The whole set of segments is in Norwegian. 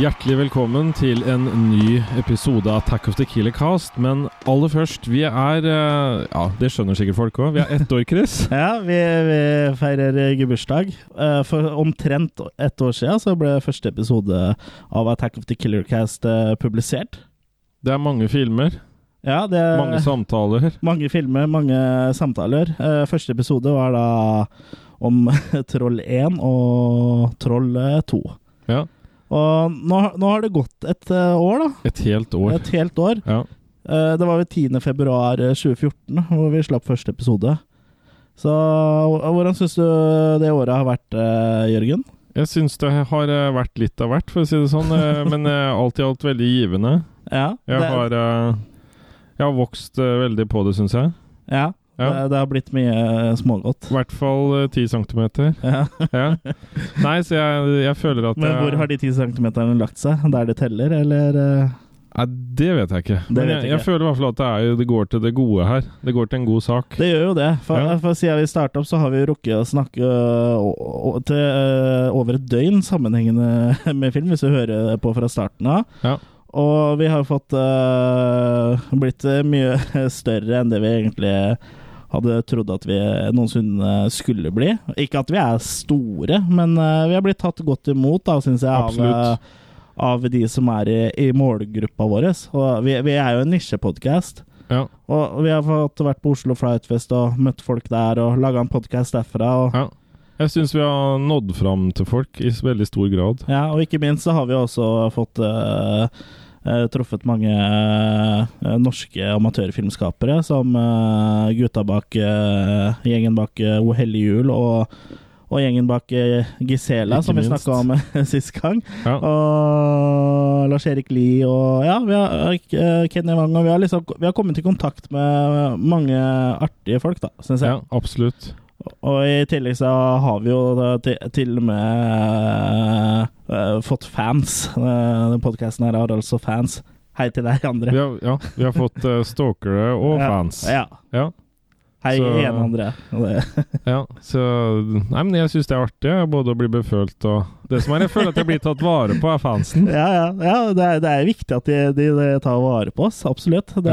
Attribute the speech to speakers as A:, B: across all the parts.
A: Hjertelig velkommen til en ny episode av Attack of the Killer Cast. Men aller først, vi er eh, Ja, det skjønner sikkert folk òg. Vi er ett år, Chris.
B: Ja, vi, vi feirer gebursdag. Eh, For omtrent ett år siden så ble første episode av Attack of the Killer Cast eh, publisert.
A: Det er mange filmer,
B: Ja, det er
A: mange
B: mange,
A: samtaler.
B: filmer, mange samtaler. Eh, Første episode var da om Troll 1 og Troll eh, 2.
A: Ja,
B: Og nå, nå har det gått et eh, år, da.
A: Et helt år.
B: Et helt år.
A: Ja.
B: Eh, Det var vel 10. februar eh, 2014 hvor vi slapp første episode. Så h- hvordan syns du det året har vært, eh, Jørgen?
A: Jeg syns det har eh, vært litt av hvert, for å si det sånn. eh, Men eh, alt i alt veldig givende.
B: Ja,
A: Jeg
B: det,
A: har, eh, jeg har vokst eh, veldig på det, syns jeg.
B: ja,
A: Ja.
B: Det, det har blitt mye eh, smågodt.
A: I hvert fall eh, 10 centimeter.
B: Ja.
A: Ja. Nei, så jeg, jeg føler at
B: Men
A: jeg,
B: hvor har de 10 centimeterne lagt seg? Der det teller, eller? eh?
A: Nei, det vet jeg ikke. Men
B: vet
A: jeg,
B: jeg
A: jeg
B: ikke.
A: føler i hvert fall at det, er, jo- det går til det gode her. Det går til en god sak.
B: Det gjør jo det. For,
A: Ja.
B: for siden vi startet opp, så har vi jo rukket å snakke eh, o- o- til eh, over et døgn sammenhengende med film, hvis du hører på fra starten av.
A: Ja.
B: Og vi har jo fått eh, blitt eh, mye større enn det vi egentlig hadde trodd at vi noensinne skulle bli. Ikke at vi er store, men eh, vi har blitt tatt godt imot, da, syns jeg, av,
A: Absolutt.
B: eh, av de som er i, i målgruppa vår. Og vi, vi er jo en nisjepodkast.
A: Ja.
B: Og vi har fått vært på Oslo Flightfest og møtt folk der og laga en podkast derfra. Og,
A: Ja. Jeg syns vi har nådd fram til folk i s- veldig stor grad.
B: ja, og ikke minst så har vi også fått eh, eh, truffet mange eh, norske amatørfilmskapere, som eh, gutta bak eh, gjengen bak eh, O hellige jul og, og gjengen bak eh, Gisela,
A: Ikke
B: som vi
A: minst.
B: snakka om eh, sist gang.
A: Ja.
B: Og Lars-Erik Lie og ja, vi har, eh, Kenny Wang. Og vi har, liksom, vi har kommet i kontakt med mange artige folk, da, syns jeg.
A: ja, absolutt.
B: Og i tillegg så har vi jo da til, til og med eh, fått fans. Uh, den podkasten her har altså fans. Hei til deg,
A: Vi
B: andre.
A: har, ja, vi har fått eh, stalkere og fans.
B: Ja.
A: Ja.
B: Hei
A: Så-
B: igjen, André. Det-
A: Ja, så Nei, men jeg syns det er artig, jeg, både å bli befølt og Det som er, jeg føler at jeg blir tatt vare på av fansen.
B: Ja, ja. ja det, er, det er viktig at de, de, de tar vare på oss. Absolutt. Det, det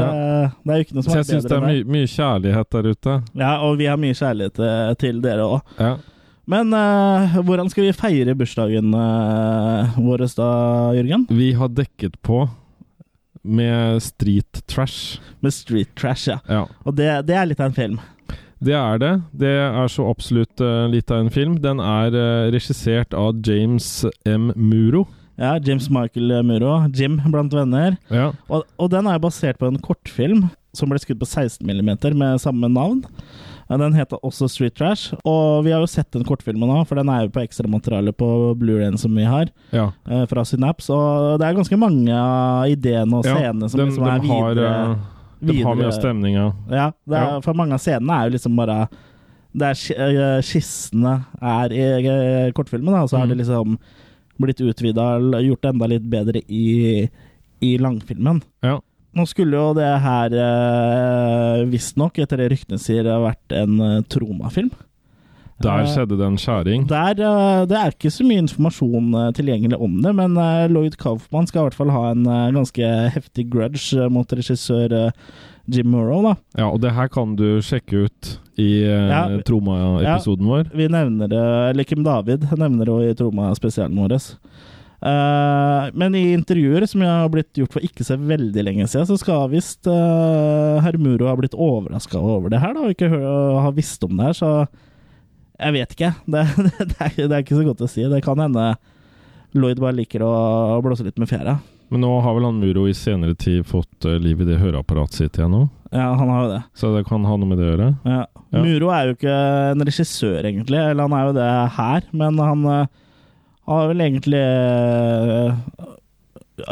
B: er jo ikke noe
A: Så
B: som
A: jeg
B: er
A: syns det
B: bedre
A: er
B: enn det.
A: my mye kjærlighet der ute.
B: Ja, og vi har mye kjærlighet eh, til dere òg.
A: Ja.
B: Men eh, hvordan skal vi feire bursdagen uh, vår da, Jørgen?
A: Vi har dekket på med street trash.
B: Med Street Trash, ja.
A: Ja.
B: Og det, det er litt av en film.
A: Det er det. Det er så absolutt eh, litt av en film. Den er eh, regissert av James M. Muro.
B: Ja, James Michael Muro. Jim blant venner.
A: Ja.
B: Og, og den er basert på en kortfilm som ble skutt på 16 mm med samme navn. Ja, Den heter også Street Trash. Og vi har jo sett den kortfilmen nå, for den er jo på ekstramaterialet på Blu-rayen som vi har,
A: ja.
B: eh, fra Synaps. Og det er ganske mange av ideene og
A: Ja,
B: scenene som
A: den,
B: liksom er
A: de har,
B: videre.
A: eh, de har mye av stemninga.
B: Ja, det er,
A: Ja.
B: for mange av scenene er jo liksom bare Det er sk- eh, skissene er i eh, kortfilmen, da, og så har
A: Mm.
B: det liksom blitt utvida og gjort det enda litt bedre i, i langfilmen.
A: Ja.
B: Nå skulle jo det her eh, visstnok, etter det ryktene sier, ha vært en eh, Troma-film.
A: Der
B: Eh,
A: skjedde det en skjæring.
B: der, eh, det er ikke så mye informasjon eh, tilgjengelig om det, men eh, Lloyd Kaufman skal i hvert fall ha en eh, ganske heftig grudge eh, mot regissør eh, Jim Murrow, da.
A: Ja, og det her kan du sjekke ut i
B: Ja,
A: uh,
B: vi-
A: Troma-episoden vår.
B: Vi nevner det, eller Kim David nevner det jo i Troma-spesialen vår. Eh, men i intervjuer som jeg har blitt gjort for ikke så veldig lenge siden, så skal visst eh, herr Muro ha blitt overraska over det her, da, og ikke hør, og ha visst om det her, så jeg vet ikke. Det, det, er, det er ikke så godt å si. Det kan hende Lloyd bare liker å blåse litt med fjæra.
A: Men nå har vel han Muro i senere tid fått eh, liv i det høreapparatet sitt igjen nå,
B: Ja, han har jo det.
A: så det kan ha noe med det å gjøre.
B: Ja.
A: Ja.
B: Muro er jo ikke en regissør, egentlig. Eller han er jo det her, men han eh, har vel egentlig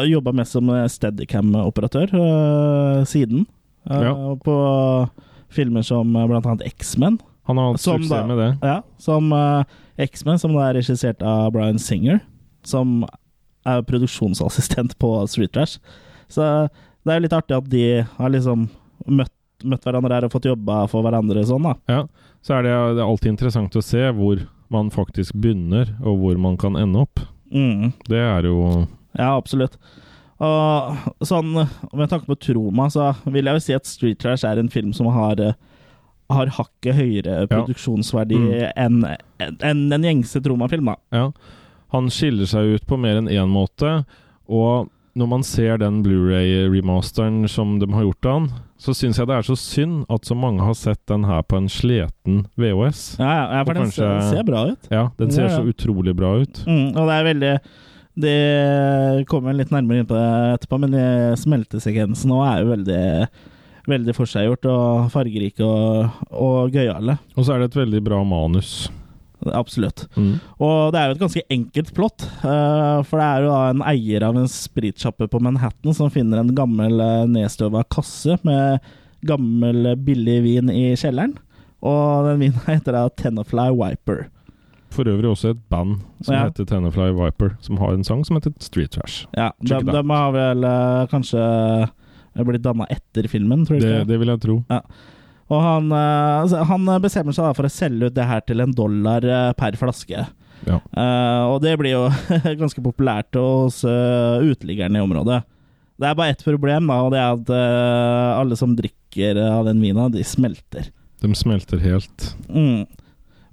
B: jobba mest som Steadicam-operatør eh, siden. eh,
A: Ja.
B: På filmer som eh, blant annet X-Men.
A: Han har hatt
B: Som
A: suksess
B: da-
A: med det.
B: Ja, som eh, X-Men, som da er regissert av Brian Singer, som er produksjonsassistent på Street Trash. Så det er jo litt artig at de har liksom møtt, møtt hverandre her og fått jobba for hverandre sånn, da.
A: Ja, så er det, eh, det er alltid interessant å se hvor man faktisk begynner, og hvor man kan ende opp.
B: Mm.
A: Det er jo
B: Ja, absolutt. Og sånn, med tanke på Troma, så vil jeg jo si at Street Trash er en film som har eh, har hakket høyere produksjonsverdi enn enn den gjengse Troma-film, da.
A: Ja. Han skiller seg ut på mer enn én måte, og når man ser den Blu-ray-remasteren som de har gjort av den, så syns jeg det er så synd at så mange har sett den her på en sliten VHS.
B: Ja, ja, ja, for
A: Og
B: den
A: kanskje-
B: ser, den ser bra ut.
A: Ja, den ser
B: Ja, ja.
A: så utrolig bra ut.
B: Mm, og det er veldig Det kommer litt nærmere inn på det etterpå, men eh, smeltesekvensen nå er jo veldig Veldig forseggjort og fargerike og, og gøyale.
A: Og så er det et veldig bra manus.
B: Absolutt.
A: Mm.
B: Og det er jo et ganske enkelt plott. eh, for det er jo da en eier av en spritsjappe på Manhattan som finner en gammel uh, nedstøva kasse med gammel, eh, billig vin i kjelleren. Og den vinen heter da Tenafly Wiper.
A: For øvrig også et band som
B: Ja.
A: heter Tenafly Viper, som har en sang som heter Street Trash.
B: Ja, de,
A: Check it out.
B: de har vel eh, kanskje eh, blitt danna etter filmen, tror du
A: Det,
B: ikke?
A: det vil jeg tro.
B: Og han, eh, altså, han bestemmer seg da for å selge ut det her til en dollar eh, per flaske.
A: Ja.
B: Eh, og det blir jo ganske populært hos eh, uteliggerne i området. Det er bare ett problem, da, og det er at eh, alle som drikker eh, av den vina, de smelter.
A: De smelter helt.
B: Mm.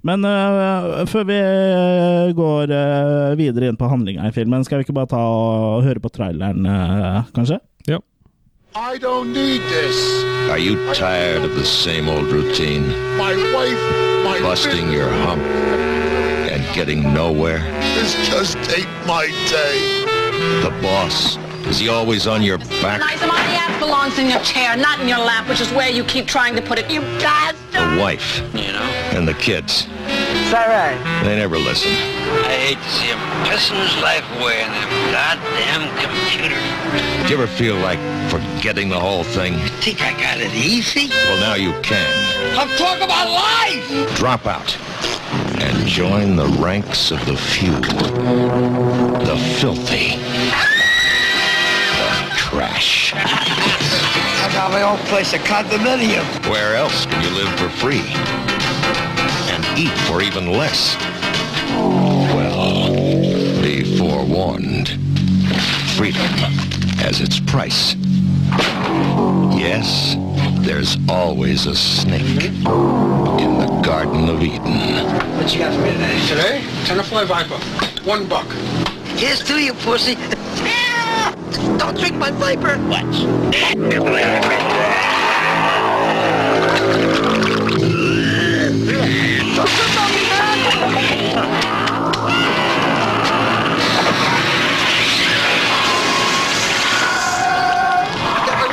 B: Men eh, før vi eh, går eh, videre inn på handlinga i filmen, skal vi ikke bare ta og høre på traileren, eh, kanskje?
C: I don't need this.
D: Are you tired of the same old routine?
C: My wife, my
D: Busting your hump and getting nowhere?
C: business just ate my day.
D: The boss, is he always on your back?
E: Liza, my ass belongs in your chair, not in your lap, which is where you keep trying to put it. You
D: The
E: bastard!
D: wife
F: You know,
D: and the kids,
F: it's all right.
D: they never listen.
F: I hate to see him pissing his life away on them goddamn computers.
D: Do you ever feel like forgetting the whole thing?
F: Think I got it easy?
D: Well, now you can.
F: I'm talking about life!
D: Drop out and join the ranks of the few, the filthy, the trash.
F: I got my own place, a condominium.
D: Where else can you live for free and eat for even less? Well, be forewarned. Freedom has its price. Yes, there's always a snake in the Garden of Eden.
F: What you got for me today?
C: Today, Tenafly Viper, one buck.
F: Here's to you, pussy. Don't drink my viper. What?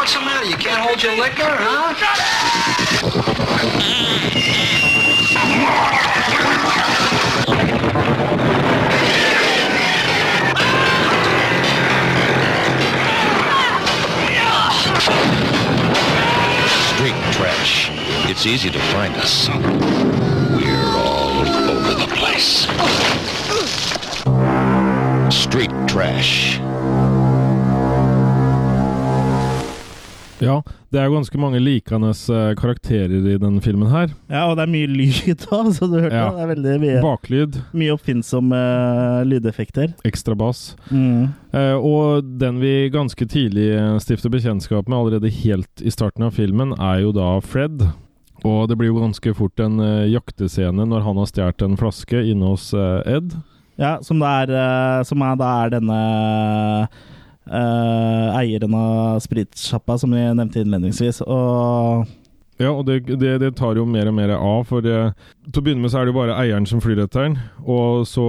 C: What's the matter? You can't hold your liquor, huh?
D: Street trash. It's easy to find us. We're all over the place. Street trash.
A: Ja, det er jo ganske mange likende eh, karakterer i denne filmen her.
B: Ja, og det er mye lyd òg, så du hørte
A: Ja.
B: det. Det er veldig mye.
A: Baklyd,
B: Mye oppfinnsomme eh, lydeffekter.
A: ekstra bass. Eh, og den vi ganske tidlig eh, stifter bekjentskap med, allerede helt i starten av filmen, er jo da Fred. Og det blir jo ganske fort en eh, jaktescene når han har stjålet en flaske inne hos eh, Ed.
B: Ja, som da er, eh, som er, da er denne eh, eieren av spritsjappa som vi nevnte innledningsvis. Og
A: Ja, og det, det, det tar jo mer og mer av, for eh, til å begynne med så er det jo bare eieren som flyr etter den, og så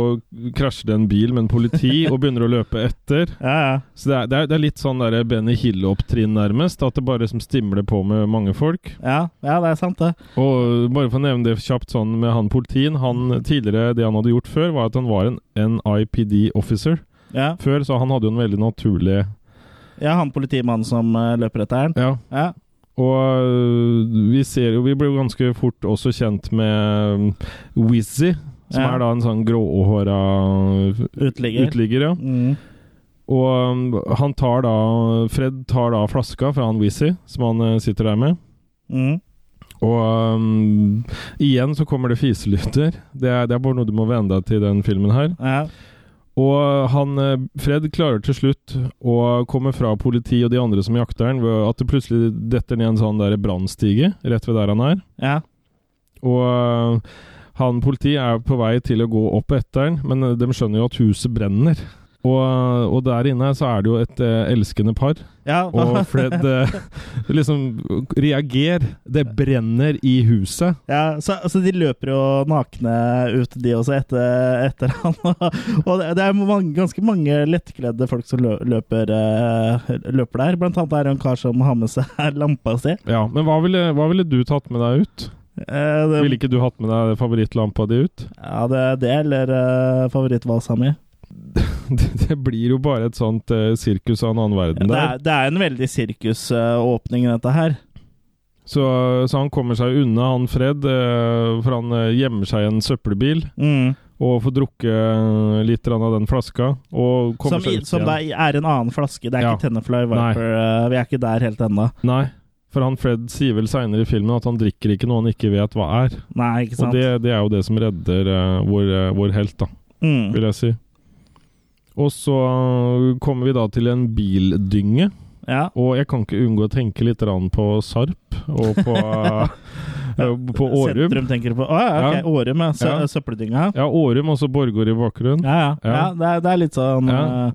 A: krasjer det en bil med en politi og begynner å løpe etter.
B: ja, ja.
A: Så det er, det er, det er litt sånn der Benny Hill-opptrinn nærmest, at det bare liksom stimler på med mange folk.
B: Ja, ja, det er sant, det.
A: Og bare for å nevne det kjapt sånn med han politien, han tidligere, det han hadde gjort før, var at han var en NIPD-officer
B: Ja,
A: før, så han hadde jo en veldig naturlig
B: ja han politimannen som eh, løper etter den.
A: Ja,
B: Ja.
A: Og øh, vi ser jo Vi blir jo ganske fort også kjent med øh, Wizzy, som
B: Ja.
A: er da en sånn gråhåra øh,
B: Uteligger.
A: uteligger. Ja.
B: Mm.
A: Og øh, han tar da Fred tar da flaska fra han Wizzy, som han øh, sitter der med.
B: Mm.
A: Og øhm, igjen så kommer det fiselytter. Det er, det er bare noe du må venne deg til i den filmen her.
B: Ja.
A: Og han, eh, Fred klarer til slutt å komme fra politi og de andre som jakter han, ved at det plutselig detter ned en sånn der brannstige rett ved der han er.
B: ja.
A: Og eh, han politi er på vei til å gå opp etter han, men eh, de skjønner jo at huset brenner. Og, eh, og der inne så er det jo et eh, elskende par,
B: ja.
A: og Fred eh, liksom reagerer. Det brenner i huset.
B: Ja, så, så de løper jo nakne ut, de også, etter, etter han. Og det, det er mange, ganske mange lettkledde folk som lø- løper, eh, løper der. Blant annet er det en kar som har med seg lampa si.
A: Ja, men hva ville, hva ville du tatt med deg ut?
B: Eh, det,
A: Ville ikke du hatt med deg favorittlampa di ut?
B: ja, det, det eller eh, favorittvalsa mi.
A: Det, det blir jo bare et sånt eh, sirkus av en annen verden
B: Det
A: der.
B: er, det er en veldig sirkusåpning, eh, dette her.
A: Så, så han kommer seg unna, han Fred, eh, for han eh, gjemmer seg i en søppelbil
B: Mm.
A: og får drukke eh, litt grann av den flaska. Og kommer
B: Som, i-
A: seg ut
B: som
A: igjen.
B: da er en annen flaske. Det er
A: Ja.
B: ikke Tennerfly
A: Nei.
B: Viper. eh, vi er ikke der helt ennå.
A: Nei, for han Fred sier vel seinere i filmen at han drikker ikke noe han ikke vet hva er.
B: Nei, ikke
A: Og
B: sant?
A: det, det er jo det som redder eh, vår, eh, vår helt, da.
B: mm.
A: vil jeg si. Og så kommer vi da til en bildynge,
B: Ja.
A: og jeg kan ikke unngå å tenke litt grann på Sarp og på, eh, på Årum.
B: Sentrum tenker du på. Å ja, ok.
A: Ja.
B: Årum, ja. Sø
A: Ja.
B: Søppeldynga.
A: Ja, Årum og så Borgård i bakgrunnen.
B: Ja, ja.
A: Ja.
B: ja det, er, det er litt sånn
A: Ja.
B: eh,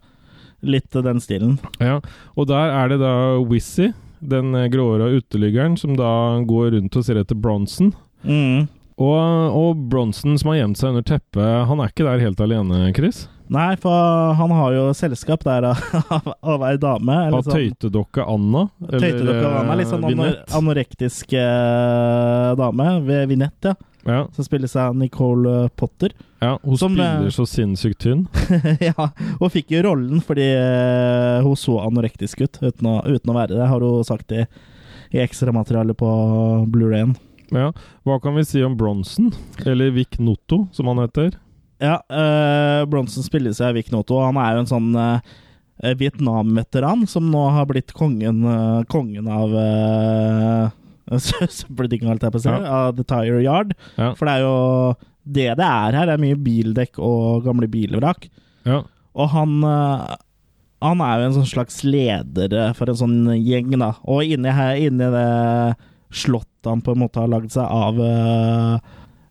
B: Litt den stilen.
A: Ja. Og der er det da Wizzy, den eh, gråhåra uteliggeren, som da går rundt og ser etter Bronson.
B: Mm.
A: Og, og Bronson, som har gjemt seg under teppet, han er ikke der helt alene, Chris?
B: Nei, for han har jo selskap der av, av ei dame.
A: Av
B: eller sånn-
A: tøytedokke Anna? eller,
B: Tøytedokke av dame. Litt sånn
A: eh,
B: anor
A: Vinette.
B: anorektisk eh, dame. Ved Vinette, ja.
A: Ja,
B: Som spilles av Nicole eh, Potter.
A: ja, hun
B: Som, eh,
A: spiller så sinnssykt tynn.
B: ja, og fikk jo rollen fordi eh, hun så anorektisk ut, uten å, uten å være det, har hun sagt i, i ekstramaterialet på Blu-rayen.
A: Ja, Hva kan vi si om Bronson, eller Vic Notto, som han heter?
B: Ja, eh, Bronson spilles av Vic Noto, og han er jo en sånn eh, Vietnam-veteran som nå har blitt kongen, eh, kongen av eh, sø- Søppeldynga, holdt jeg på å si, av The Tire Yard.
A: Ja.
B: For det er jo det det er her. Det er mye bildekk og gamle bilvrak.
A: Ja,
B: Og han eh, han er jo en sånn slags leder eh, for en sånn gjeng, da. Og inni, her, inni det slottet han på en måte har lagd seg av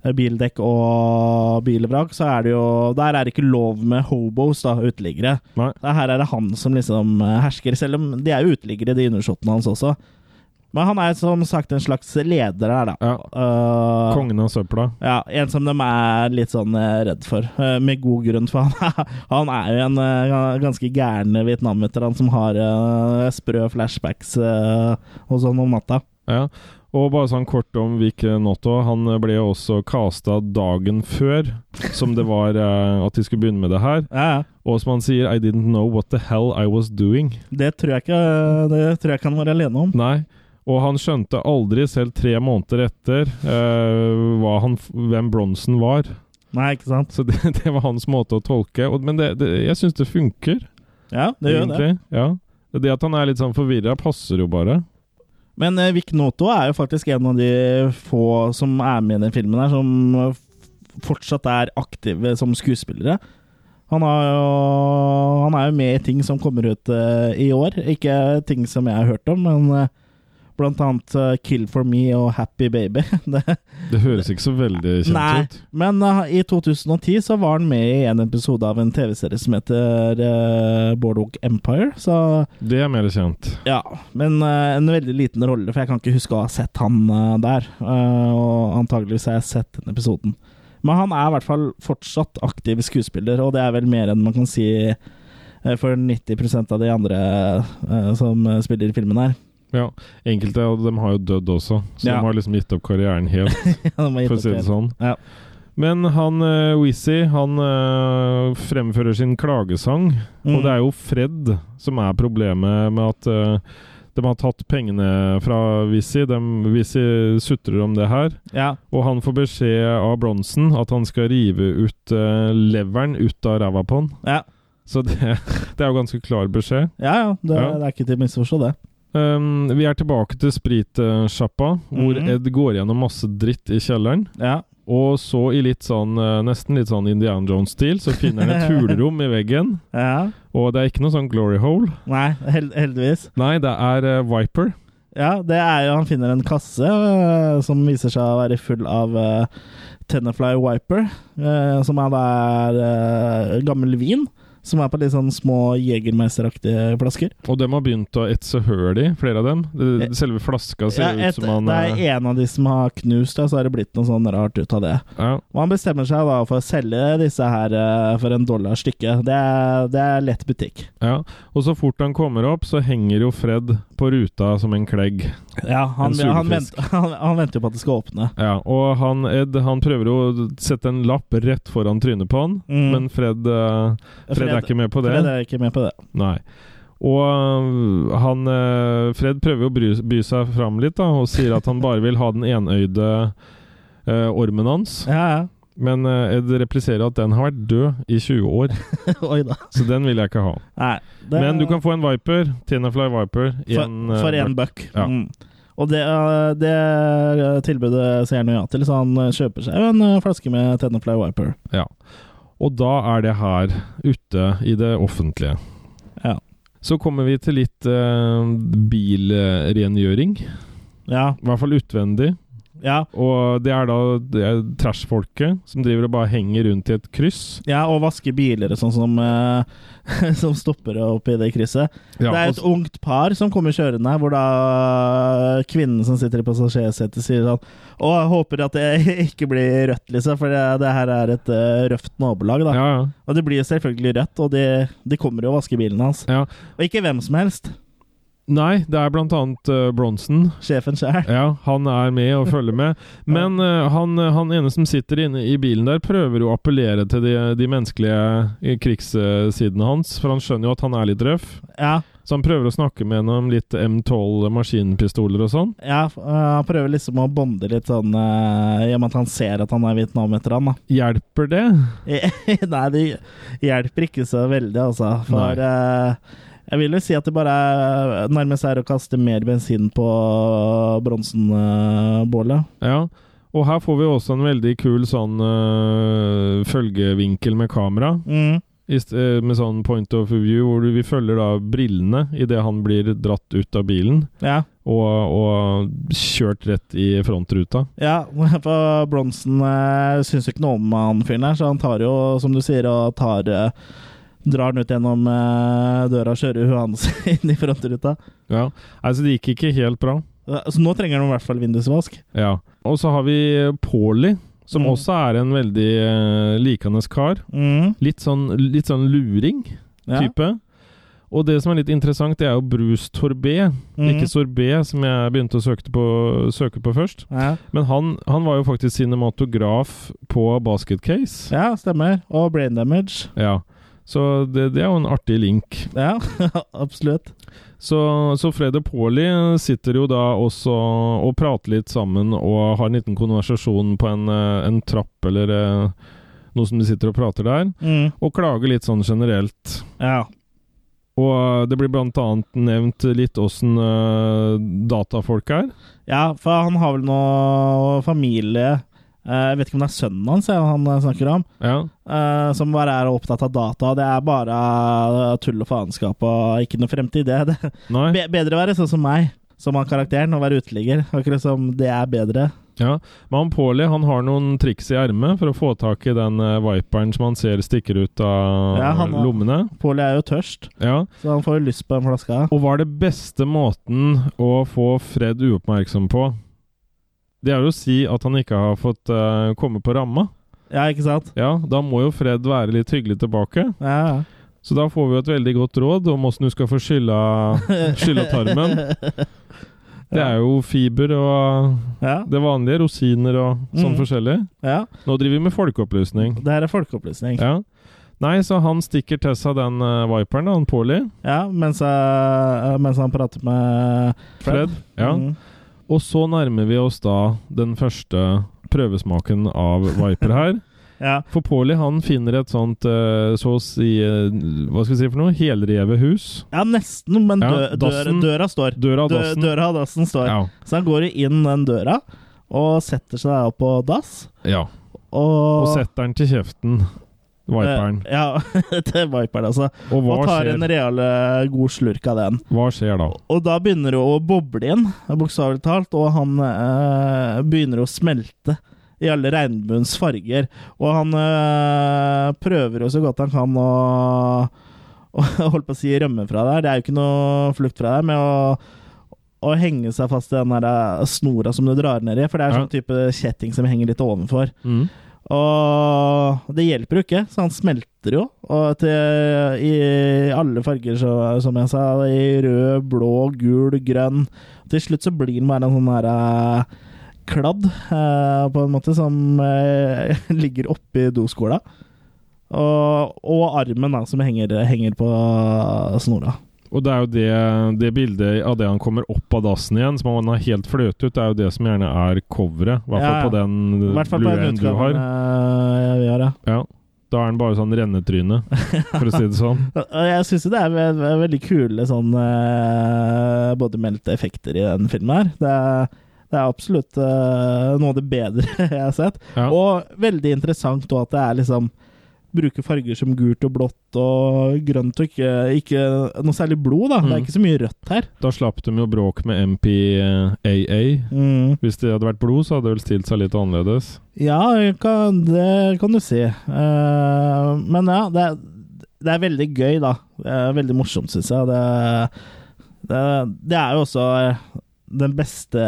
B: eh, bildekk og bilvrak, så er det jo Der er det ikke lov med hobos, da, uteliggere.
A: nei.
B: Det Her er det han som liksom eh, hersker, selv om de er jo uteliggere, de undersåttene hans også. Men han er som sagt en slags leder her, da.
A: Ja.
B: Eh,
A: Kongen av søpla.
B: ja, en som de er litt sånn eh, redd for, eh, med god grunn, for han er, han er jo en eh, ga- ganske gæren vietnamveteran som har eh, sprø flashbacks eh, og sånn om natta.
A: Ja. Og bare sånn kort om Vic Notto. Han ble jo også casta dagen før som det var eh, at de skulle begynne med det her.
B: Ja, ja.
A: Og som han sier, I didn't know what the hell I was doing.
B: Det tror jeg ikke eh, det tror jeg ikke han var alene om.
A: Nei. Og han skjønte aldri, selv tre måneder etter, eh, hva han, hvem Bronson var.
B: Nei, ikke sant?
A: Så det, det var hans måte å tolke. Og, men det, det, jeg syns det funker.
B: Ja, det gjør det.
A: egentlig. Ja. Det at han er litt sånn forvirra, passer jo bare.
B: Men eh, Vic Noto er jo faktisk en av de få som er med i den filmen her, som eh, f- fortsatt er aktive som skuespillere. Han, har jo, han er jo med i ting som kommer ut eh, i år. Ikke ting som jeg har hørt om, men eh, blant annet eh, Kill for me og Happy Baby. Det,
A: Det høres ikke så veldig kjent
B: nei.
A: ut.
B: Men eh, i 2010 så var han med i en episode av en TV-serie som heter uh, Boardwalk Empire. Så
A: Det er mer kjent.
B: ja, men eh, en veldig liten rolle, for jeg kan ikke huske å ha sett han eh, der. Eh, og antageligvis har jeg sett den episoden. Men han er i hvert fall fortsatt aktiv skuespiller, og det er vel mer enn man kan si eh, for 90 av de andre eh, som eh, spiller i filmen her.
A: Ja. Enkelte av dem har jo dødd også, så
B: Ja.
A: de har liksom gitt opp karrieren helt,
B: De har gitt
A: for å si
B: opp
A: det
B: igjen.
A: sånn.
B: Ja.
A: Men han uh, Wizzy, han eh, fremfører sin klagesang,
B: Mm.
A: og det er jo Fred som er problemet med at eh, De har tatt pengene fra Wizzy. De- Wizzy sutrer om det her.
B: Ja.
A: Og han får beskjed av Bronsen at han skal rive ut eh, leveren ut av ræva på han.
B: Ja,
A: Så det, det er jo ganske klar beskjed.
B: ja, ja, det,
A: Ja.
B: det er ikke til å misforstå, det.
A: Um, vi er tilbake til spritsjappa, hvor
B: Mhm.
A: Ed går gjennom masse dritt i kjelleren.
B: Ja.
A: Og så, i litt sånn, eh, nesten litt sånn Indiana Jones-stil, så finner han et hulrom i veggen.
B: ja.
A: Og det er ikke noe sånn glory hole.
B: Nei, hel heldigvis.
A: Nei, det er eh, Viper.
B: Ja, det er jo Han finner en kasse øh, som viser seg å være full av øh, Tennerfly Wiper, øh, som er da er, øh, gammel vin. Som er på litt sånn små jegermesteraktige flasker.
A: Og dem har begynt å etse høl i, flere av dem. Det-
B: Eh,
A: Selve flaska ser
B: Ja,
A: ut
B: et,
A: som han
B: det er
A: eh,
B: en av de som har knust, og så har det blitt noe sånn rart ut av det.
A: ja.
B: Og han bestemmer seg da for å selge disse her eh, for en dollar stykket. Det er, det er lett butikk.
A: Ja, og så fort han kommer opp, så henger jo Fred på ruta som en klegg.
B: Ja, han,
A: En
B: han,
A: sulefisk.
B: vent, han, han venter jo på at det skal åpne.
A: Ja, og han Ed han prøver å sette en lapp rett foran trynet på han,
B: Mm.
A: men Fred, eh, Fred, er ikke med på det.
B: Fred er ikke med på det.
A: Nei. Og eh, han eh, Fred prøver jo å bry, by seg fram litt, da, og sier at han bare vil ha den enøyde eh, ormen hans.
B: Ja, ja.
A: Men eh, Ed repliserer at den har vært død i 20 år,
B: Oi da.
A: så den vil jeg ikke ha.
B: Nei, det-
A: Men du kan få en Viper, Tinafly Viper. i
B: for,
A: en, eh,
B: for en buck.
A: Ja.
B: Mm. Og det, eh, det tilbudet sier han jo ja til, så han eh, kjøper seg jo en eh, flaske med Tennerfly Wiper.
A: Ja. Og da er det her ute i det offentlige.
B: Ja.
A: Så kommer vi til litt eh, bilrengjøring.
B: Ja,
A: I hvert fall utvendig.
B: ja.
A: Og det er da det er trash-folket som driver og bare henger rundt i et kryss.
B: Ja, og vaske biler og sånn som, eh, som stopper opp i det krysset.
A: Ja,
B: det er et
A: og-
B: ungt par som kommer kjørende, hvor da eh, kvinnen som sitter i passasjersetet sier sånn Å, jeg håper at det ikke blir rødt, liksom, for det, det her er et eh, røft nabolag, da.
A: Ja, ja.
B: Og det blir jo selvfølgelig rødt, og de, de kommer jo og vasker bilen hans.
A: Ja.
B: Og ikke hvem som helst.
A: Nei, det er blant annet eh, Bronsen.
B: Sjefen sjæl.
A: Ja, han er med og følger med. Men eh, han, han ene som sitter inne i bilen der, prøver jo å appellere til de, de menneskelige krigssidene hans, for han skjønner jo at han er litt røff.
B: Ja,
A: Så han prøver å snakke med henne om litt M12 maskinpistoler og sånn.
B: ja, f- eh, han prøver liksom å bonde litt sånn eh, i og med at han ser at han er vietnameter, han, da.
A: Hjelper det?
B: Nei, det hjelper ikke så veldig, altså. For eh, jeg vil jo si at det bare er, nærmest er å kaste mer bensin på bronsenbålet.
A: Ja. Og her får vi også en veldig kul sånn øh, følgevinkel med kamera.
B: Mm.
A: i st- øh, med sånn point of view, hvor du- vi følger da brillene idet han blir dratt ut av bilen
B: Ja.
A: og, og kjørt rett i frontruta.
B: ja, for Bronsen eh, syns jo ikke noe om han fyren her, så han tar jo, som du sier, og tar eh, Drar han ut gjennom eh, døra og kjører huet hans inn i frontruta.
A: Ja. Altså, det gikk ikke helt bra.
B: Så nå trenger han i hvert fall vindusvask.
A: Ja. Og så har vi Paulie, som
B: Mm.
A: også er en veldig øh, likende kar.
B: Mm.
A: Litt sånn, litt sånn luring.
B: Ja.
A: type. Og det som er litt interessant, det er jo Bruce Torbé.
B: Mhm.
A: Ikke Sorbet, som jeg begynte å søke på, søke på først.
B: Ja.
A: Men han, han var jo faktisk cinematograf på Basket Case.
B: ja, stemmer. Og brain damage.
A: Ja. Så det, det er jo en artig link.
B: Ja, absolutt.
A: Så, så Fred og Paulie sitter jo da også og prater litt sammen og har en liten konversasjon på en, eh, en trapp eller eh, noe som de sitter og prater der,
B: Mm.
A: og klager litt sånn generelt.
B: Ja.
A: Og det blir blant annet nevnt litt åssen øh, datafolk er.
B: ja, for han har vel noe familie Eh, Jeg vet ikke om det er sønnen hans jeg, han eh, snakker om,
A: Ja.
B: eh, som bare er opptatt av data. Det er bare eh, tull og faenskap og ikke noe fremtid. Det, det.
A: Nei.
B: Be bedre å være sånn som meg, som han karakteren, og være uteligger. Akkurat som det er bedre.
A: Ja. Men han Paulie han har noen triks i ermet for å få tak i den øh, viperen som han ser stikker ut av
B: Ja, han har-
A: lommene.
B: Pål er jo tørst,
A: Ja.
B: så han får jo lyst på en flaske.
A: Og hva er det beste måten å få Fred uoppmerksom på? Det er jo å si at han ikke har fått øh, komme på ramma.
B: Ja, ikke sant?
A: Ja, da må jo Fred være litt hyggelig tilbake.
B: Ja, ja.
A: Så da får vi jo et veldig godt råd om åssen du skal få skylla, skylla tarmen. Det er jo fiber og
B: Ja,
A: det vanlige, rosiner og sånn
B: Mm.
A: forskjellig.
B: ja.
A: Nå driver vi med folkeopplysning.
B: Det her er folkeopplysning.
A: Ja. Nei, så han stikker til seg den eh, viperen, da, han Paulie.
B: Ja, mens, jeg, mens han prater med
A: Fred.
B: Fred.
A: Ja.
B: Mm.
A: Og så nærmer vi oss da den første prøvesmaken av viper her.
B: ja.
A: For Paulie han finner et sånt eh, så å si eh, Hva skal vi si for noe? Helrevet hus.
B: ja, nesten, men
A: Ja,
B: dø, dør,
A: dassen.
B: døra står.
A: Døra av
B: Dø,
A: dassen.
B: døra av dassen står.
A: Ja.
B: Så han går inn den døra og setter seg opp på dass.
A: ja.
B: Og,
A: Og setter den til kjeften. Viperen.
B: Eh, Ja, til Viperen, altså.
A: Og hva
B: og tar
A: skjer?
B: en real eh, god slurk av den.
A: Hva skjer da?
B: Og da begynner det å boble inn, bokstavelig talt, og han eh, begynner å smelte i alle regnbuens farger. Og han eh, prøver jo så godt han kan å å holdt på å si rømme fra der. Det er jo ikke noe flukt fra der, med å, å henge seg fast i den der eh, snora som du drar ned i, for det er
A: Ja.
B: sånn type kjetting som henger litt ovenfor.
A: Mm.
B: Og det hjelper jo ikke, så han smelter jo. Og til, i alle farger, så, som jeg sa. I rød, blå, gul, grønn. Til slutt så blir han bare en sånn her eh, kladd, eh, på en måte, som eh, ligger oppi doskåla. Og, og armen, da, som henger, henger på eh, snora.
A: Og det er jo det, det bildet av det han kommer opp av dassen igjen, som han har helt fløt ut, det er jo det som gjerne er coveret. I hvert fall
B: Ja, ja.
A: på den
B: I hvert fall på den
A: Blu-rayen du har.
B: utgaven eh, vi har, ja.
A: Ja. Da er han bare sånn rennetryne, for å si det sånn.
B: Og jeg syns jo det er ve ve veldig kule sånn eh, både meldte effekter i den filmen her. Det er, det er absolutt eh, noe av det bedre jeg har sett.
A: Ja.
B: Og veldig interessant også at det er liksom Bruke farger som gult og blått og grønt og ikke, ikke noe særlig blod, da. Det er
A: Mm.
B: ikke så mye rødt her.
A: Da slapp de jo bråk med MPAA.
B: Mm.
A: Hvis det hadde vært blod, så hadde det vel stilt seg litt annerledes.
B: Ja, kan, det kan du si. Eh, men ja, det er, det er veldig gøy, da. Det er veldig morsomt, syns jeg. Det, det, det er jo også eh, den beste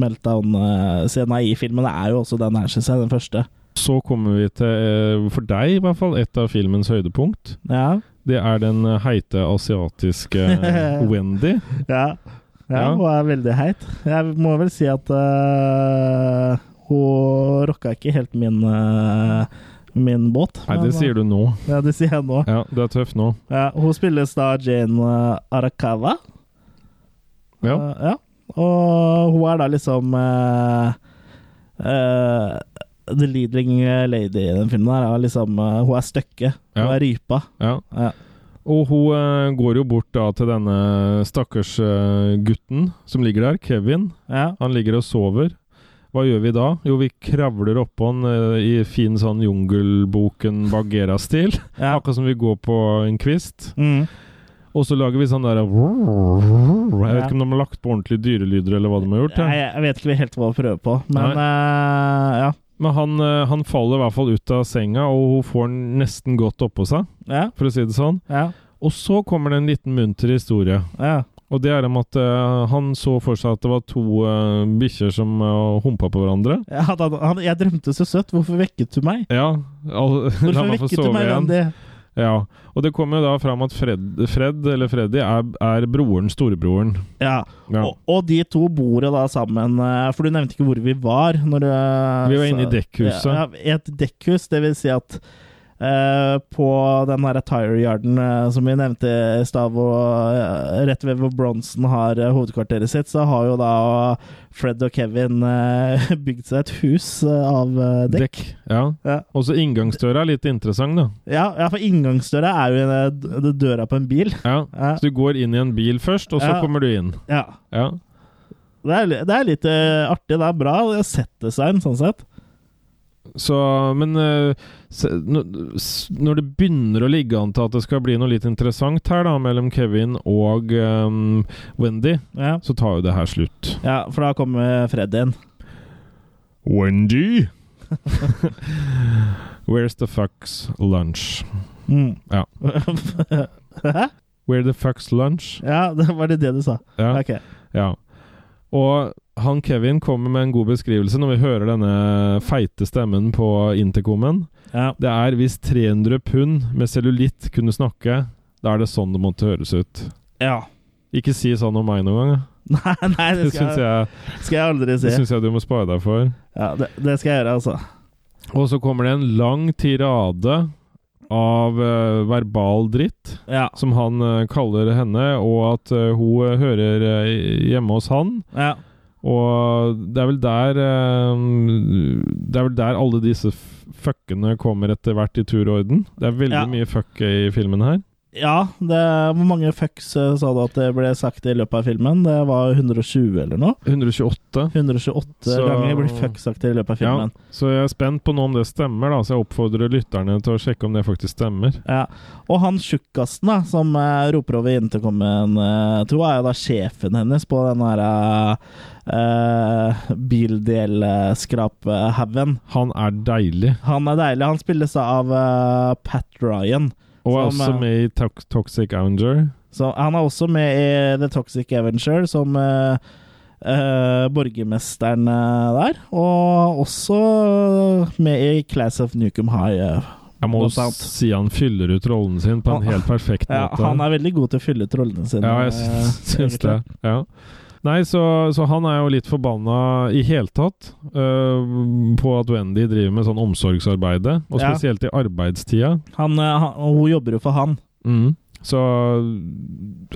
B: meltdown-scena i filmen. Det er jo også den her, syns jeg. Den første.
A: Så kommer vi til, eh, for deg i hvert fall, et av filmens høydepunkt.
B: Ja.
A: Det er den eh, heite asiatiske eh, Wendy.
B: Ja. ja
A: Ja.
B: hun er veldig heit. Jeg må vel si at eh, hun rocka ikke helt min eh, Min båt. eh,
A: Nei, det sier du nå.
B: Ja, det sier jeg nå.
A: Ja, det er tøft nå.
B: Ja, hun spilles da Jane eh, Arakawa.
A: Ja.
B: Eh, ja. Og hun er da liksom eh, eh, The leading lady i den filmen her. Er liksom, eh, hun er støkket. Hun
A: Ja.
B: er rypa.
A: ja.
B: Ja.
A: Og hun eh, går jo bort da til denne stakkars eh, gutten som ligger der, Kevin.
B: Ja.
A: Han ligger og sover. Hva gjør vi da? Jo, vi kravler oppå han eh, i fin sånn Jungelboken Bagheera-stil.
B: Ja.
A: Akkurat som vi går på en kvist.
B: Mm.
A: Og så lager vi sånn der Jeg vet ikke om de har lagt på ordentlige dyrelyder, eller hva de har gjort.
B: Nei,
A: Ja.
B: jeg vet ikke helt hva å prøve på, men eh, ja.
A: Men han, eh, han faller i hvert fall ut av senga, og hun får den nesten godt oppå seg,
B: Ja,
A: for å si det sånn.
B: ja,
A: Og så kommer det en liten munter historie.
B: ja.
A: Og det er om at eh, han så for seg at det var to uh, bikkjer som uh, humpa på hverandre.
B: Ja, da- da- han, jeg drømte så søtt. Hvorfor vekket du meg?
A: Ja. Al la
B: Hvorfor
A: meg få
B: vekket du
A: sove
B: meg,
A: igjen.
B: Randi?
A: Ja. Og det kommer jo da fram at Fred, Fred eller Freddy, er, er broren, storebroren.
B: Ja.
A: Ja.
B: Og, og de to bor jo da sammen, eh, for du nevnte ikke hvor vi var. Når du,
A: Vi var inne i dekkhuset.
B: Ja, ja, I et dekkhus, det vil si at eh, på den her tire yarden eh, som vi nevnte i stad, hvor, eh, rett ved hvor Bronson har eh, hovedkvarteret sitt, så har jo da Fred og Kevin eh, bygd seg et hus eh, av eh, dekk.
A: Dekk. Ja.
B: Ja.
A: Og så inngangsdøra er litt interessant, da.
B: Ja, ja, for inngangsdøra er jo eh, d- døra på en bil.
A: Ja.
B: Ja.
A: Så du går inn i en bil først, og så
B: Ja.
A: kommer du inn.
B: Ja.
A: Ja.
B: Det er, li- det er litt eh, artig. Det er bra set-design, sånn sett.
A: Så, men eh, se, nå- s- når det begynner å ligge an til at det skal bli noe litt interessant her, da, mellom Kevin og eh, Wendy,
B: Ja.
A: så tar jo det her slutt.
B: Ja, for da kommer Fred inn.
A: Wendy? Where's the fuck's lunch? Ja.
B: Hæ?
A: Where the fuck's lunch?
B: Ja, det var det det du sa.
A: Ja.
B: Ok.
A: ja. Og han Kevin kommer med en god beskrivelse når vi hører denne feite stemmen på intercomen.
B: Ja.
A: Det er hvis 300 pund med cellulitt kunne snakke, da er det sånn det måtte høres ut.
B: ja.
A: Ikke si sånn om meg noen gang. da.
B: Nei, nei, det
A: Det syns
B: skal, jeg,
A: jeg,
B: skal jeg aldri
A: det
B: si.
A: syns jeg du må spare deg for.
B: Ja, det, det skal jeg gjøre, altså.
A: Og så kommer det en lang tirade av eh, verbal dritt,
B: Ja.
A: som han eh, kaller henne, og at eh, hun eh, hører eh, hjemme hos han.
B: ja.
A: Og det er vel der eh, Det er vel der alle disse f- fuckene kommer etter hvert i tur og orden. Det er veldig
B: Ja.
A: mye fuck i filmen her.
B: Ja, det, hvor mange fucks eh, sa du at det ble sagt i løpet av filmen? Det var 120 eller noe?
A: 128.
B: 128
A: Så-
B: ganger blir fuck sagt i løpet av
A: Ja,
B: filmen.
A: så jeg er spent på nå om det stemmer, da. Så jeg oppfordrer lytterne til å sjekke om det faktisk stemmer.
B: Ja. Og han tjukkasen da, som eh, roper over intercomen, uh, tror jeg er da sjefen hennes på den her uh, bildelskraphaugen.
A: Han er deilig,
B: Han er deilig. Han spilles da av eh, Pat Ryan.
A: og er
B: Som,
A: også
B: eh,
A: med i Tox- Toxic Avenger.
B: Så han er også med i The Toxic Avenger som eh, eh, borgermesteren eh, der. Og også eh, med i Class of Nukem High. eh.
A: Jeg må
B: Blant annet.
A: si han fyller ut rollen sin på en
B: Han-
A: helt perfekt
B: Ja,
A: måte.
B: han er veldig god til å fylle ut rollene sine.
A: Ja, jeg syns,
B: eh,
A: syns det. Ja. Nei, så, så han er jo litt forbanna i hele tatt øh, på at Wendy driver med sånn omsorgsarbeide, og
B: Ja.
A: spesielt i arbeidstida.
B: Han, eh, han, og hun jobber jo for han. Mm.
A: Så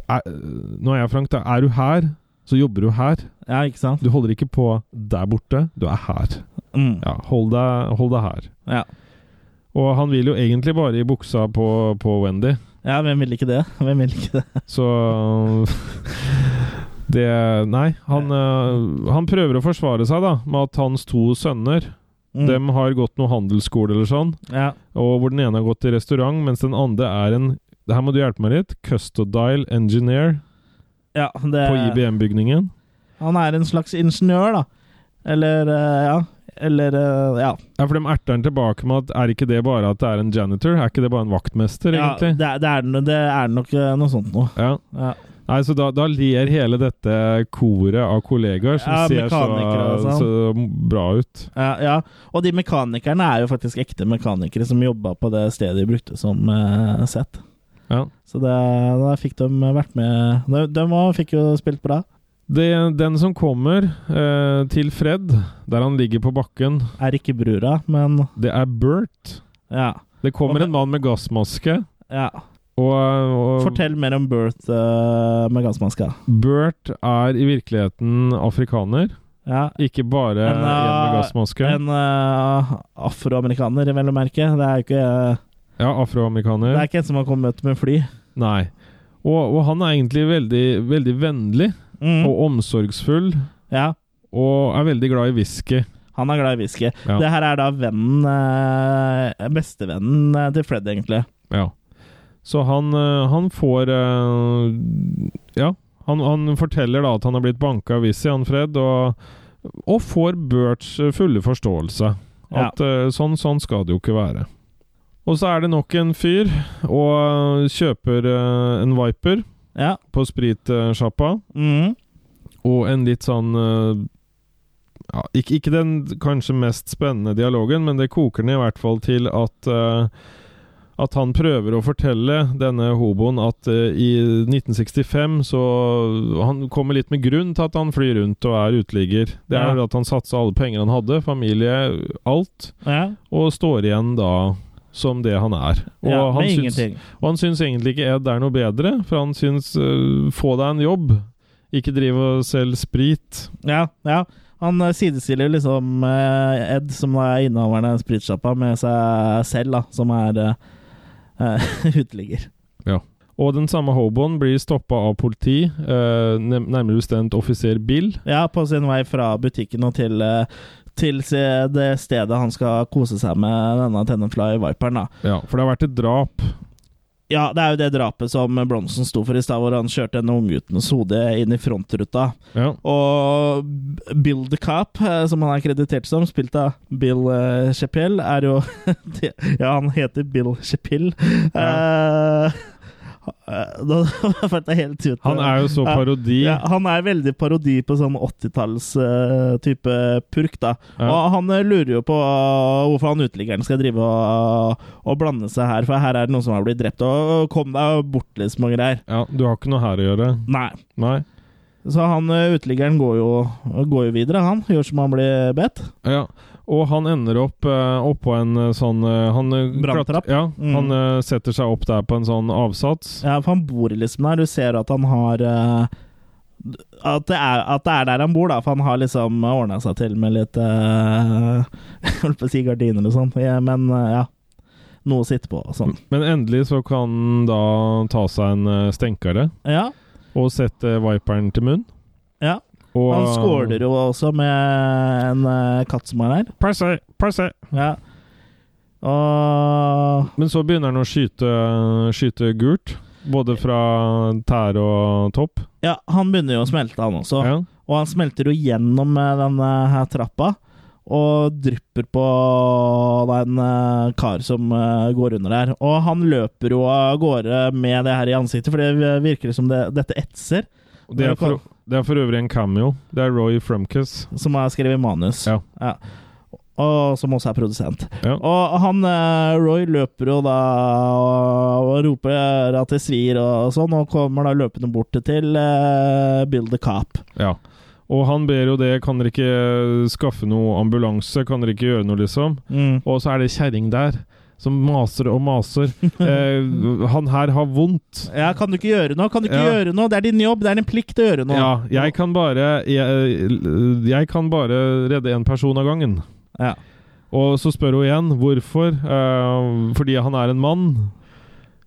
A: er, Nå er jeg frank, da. Er du her, så jobber du her.
B: Ja, ikke sant?
A: Du holder ikke på der borte, du er her.
B: Mm.
A: Ja, hold deg, hold deg her.
B: Ja.
A: Og han vil jo egentlig bare i buksa på, på Wendy.
B: ja, hvem vil ikke det? Hvem vil ikke det?
A: Så Det Nei, han, eh, han prøver å forsvare seg da med at hans to sønner
B: Mm.
A: Dem har gått noe handelsskole eller sånn,
B: Ja.
A: og hvor den ene har gått i restaurant, mens den andre er en det her må du hjelpe meg litt. Custodial engineer
B: Ja, det,
A: på IBM-bygningen.
B: Han er en slags ingeniør, da. Eller eh, ja. Eller eh, ja.
A: Ja, For de erter han tilbake med at er ikke det bare at det er en janitor? Er ikke det bare en vaktmester,
B: ja det,
A: egentlig?
B: er- det, er, no- det er nok eh, noe sånt noe.
A: Ja.
B: Ja.
A: Nei, så da, da ler hele dette koret av kollegaer som
B: Ja,
A: ser
B: mekanikere og sånn.
A: så, så bra ut.
B: Ja, ja, og de mekanikerne er jo faktisk ekte mekanikere som jobba på det stedet de brukte som eh, sett.
A: Ja.
B: Så det, da fikk de vært med De, de også fikk jo spilt bra.
A: Det, den som kommer eh, til Fred, der han ligger på bakken,
B: Er ikke brura, men
A: det er Bert.
B: ja.
A: Det
B: Og
A: kommer
B: det-
A: en mann med gassmaske,
B: ja.
A: og, og
B: Fortell mer om Birth eh, med gassmaska.
A: Bert er i virkeligheten afrikaner.
B: Ja.
A: Ikke bare
B: En,
A: en, med
B: eh,
A: gassmaske.
B: En eh, afroamerikaner, vel å merke. Det er jo ikke,
A: ja,
B: det
A: afroamerikaner.
B: er ikke en som har kommet med fly.
A: Nei. Og, og han er egentlig veldig, veldig vennlig
B: Mm.
A: og omsorgsfull,
B: Ja.
A: og er veldig glad i whisky.
B: Han er glad i whisky.
A: Ja.
B: Det her er da vennen eh, Bestevennen eh, til Fred, egentlig.
A: Ja. Så han, eh, han får eh, Ja. Han, han forteller da at han har blitt banka av Wizzy, han Fred, og, og får Burts eh, fulle forståelse.
B: Ja.
A: At eh, sånn, sånn skal det jo ikke være. Og så er det nok en fyr og eh, kjøper eh, en Viper
B: Ja.
A: på eh, spritsjappa,
B: Mm.
A: og en litt sånn eh, ja, ikke, ikke den kanskje mest spennende dialogen, men det koker ned i hvert fall til at eh, At han prøver å fortelle denne hoboen at eh, i 1965 så Han kommer litt med grunn til at han flyr rundt og er uteligger. Det er
B: Ja.
A: at han satsa alle penger han hadde, familie, alt,
B: ja.
A: og står igjen da som det han er. Og,
B: ja,
A: han,
B: med
A: syns,
B: ingenting.
A: og han syns egentlig ikke Ed er noe bedre, for han syns eh, Få deg en jobb. Ikke driv og selg sprit.
B: Ja, ja. Han eh, sidestiller liksom eh, Ed, som er innehaveren av spritsjappa, med seg selv, da, som er eh, uteligger.
A: Og den samme hoboen blir stoppa av politi, eh, nem- nærmere bestemt offiser Bill.
B: Ja, på sin vei fra butikken og til, eh, til se- det stedet han skal kose seg med denne Tennenfly Viperen, da.
A: Ja, For det har vært et drap.
B: Ja, det er jo det drapet som Bronson sto for i stad, hvor han kjørte en ungguttens hode inn i frontruta.
A: Ja,
B: Og B- Bill the Cop, eh, som han er kreditert som, spilt av Bill eh, Chappelle, er jo det- Ja, han heter Bill Chappelle. Eh, eh, Nå falt jeg helt ut.
A: Han er jo så
B: Ja.
A: parodi.
B: ja, han er veldig parodi på sånn 80-talls-type purk, da.
A: Ja.
B: Og han eh, lurer jo på eh, hvorfor han uteliggeren skal drive og, og blande seg her, for her er det noen som har blitt drept. Og kom deg bort, liksom, og greier.
A: Ja, Du har ikke noe her å gjøre.
B: Nei.
A: Nei.
B: Så han eh, uteliggeren går jo, går jo videre, han. Gjør som han blir bedt.
A: Ja. Og han ender opp eh, oppå en eh, sånn eh, han, eh,
B: Branntrapp.
A: klat- Ja,
B: Mm.
A: han eh, setter seg opp der på en sånn avsats.
B: Ja, for han bor liksom der. Du ser at han har eh, at, det er, at det er der han bor, da. For han har liksom ordna seg til med litt eh, Jeg holdt på å si gardiner og sånn, ja, men eh, ja. Noe å sitte på og sånn.
A: Men endelig så kan han da ta seg en eh, stenkare
B: Ja.
A: og sette viperen til munn.
B: ja.
A: Og eh,
B: Han skåler jo også med en eh, katt som er her.
A: Passe, passe.
B: Ja. Og
A: Men så begynner han å skyte, skyte gult. Både fra tær og topp.
B: Ja, han begynner jo å smelte, han også.
A: Ja.
B: Og han smelter jo gjennom eh, denne her trappa. Og drypper på den eh, kar som eh, går under der. Og han løper jo av gårde med det her i ansiktet, for det virker som det, dette etser.
A: Og Det, er for, det er for øvrig en cameo. Det er Roy Frumkes.
B: Som er skrevet i manus.
A: Ja.
B: Og som også er produsent.
A: Ja.
B: Og han eh, Roy løper jo da og, og roper at det svir og sånn, og kommer da løpende bort til eh, Bill the Cop.
A: Ja. Og han ber jo det. Kan dere ikke skaffe noe ambulanse? Kan dere ikke gjøre noe, liksom? Og så er det kjerring der som maser og maser. Eh, han her har vondt.
B: Ja, kan du ikke gjøre noe? Kan du ikke
A: Ja.
B: gjøre noe? Det er din jobb, det er din plikt å gjøre noe.
A: Ja, jeg kan bare jeg, jeg kan bare redde én person av gangen.
B: Ja.
A: Og så spør hun igjen hvorfor. Eh, fordi han er en mann.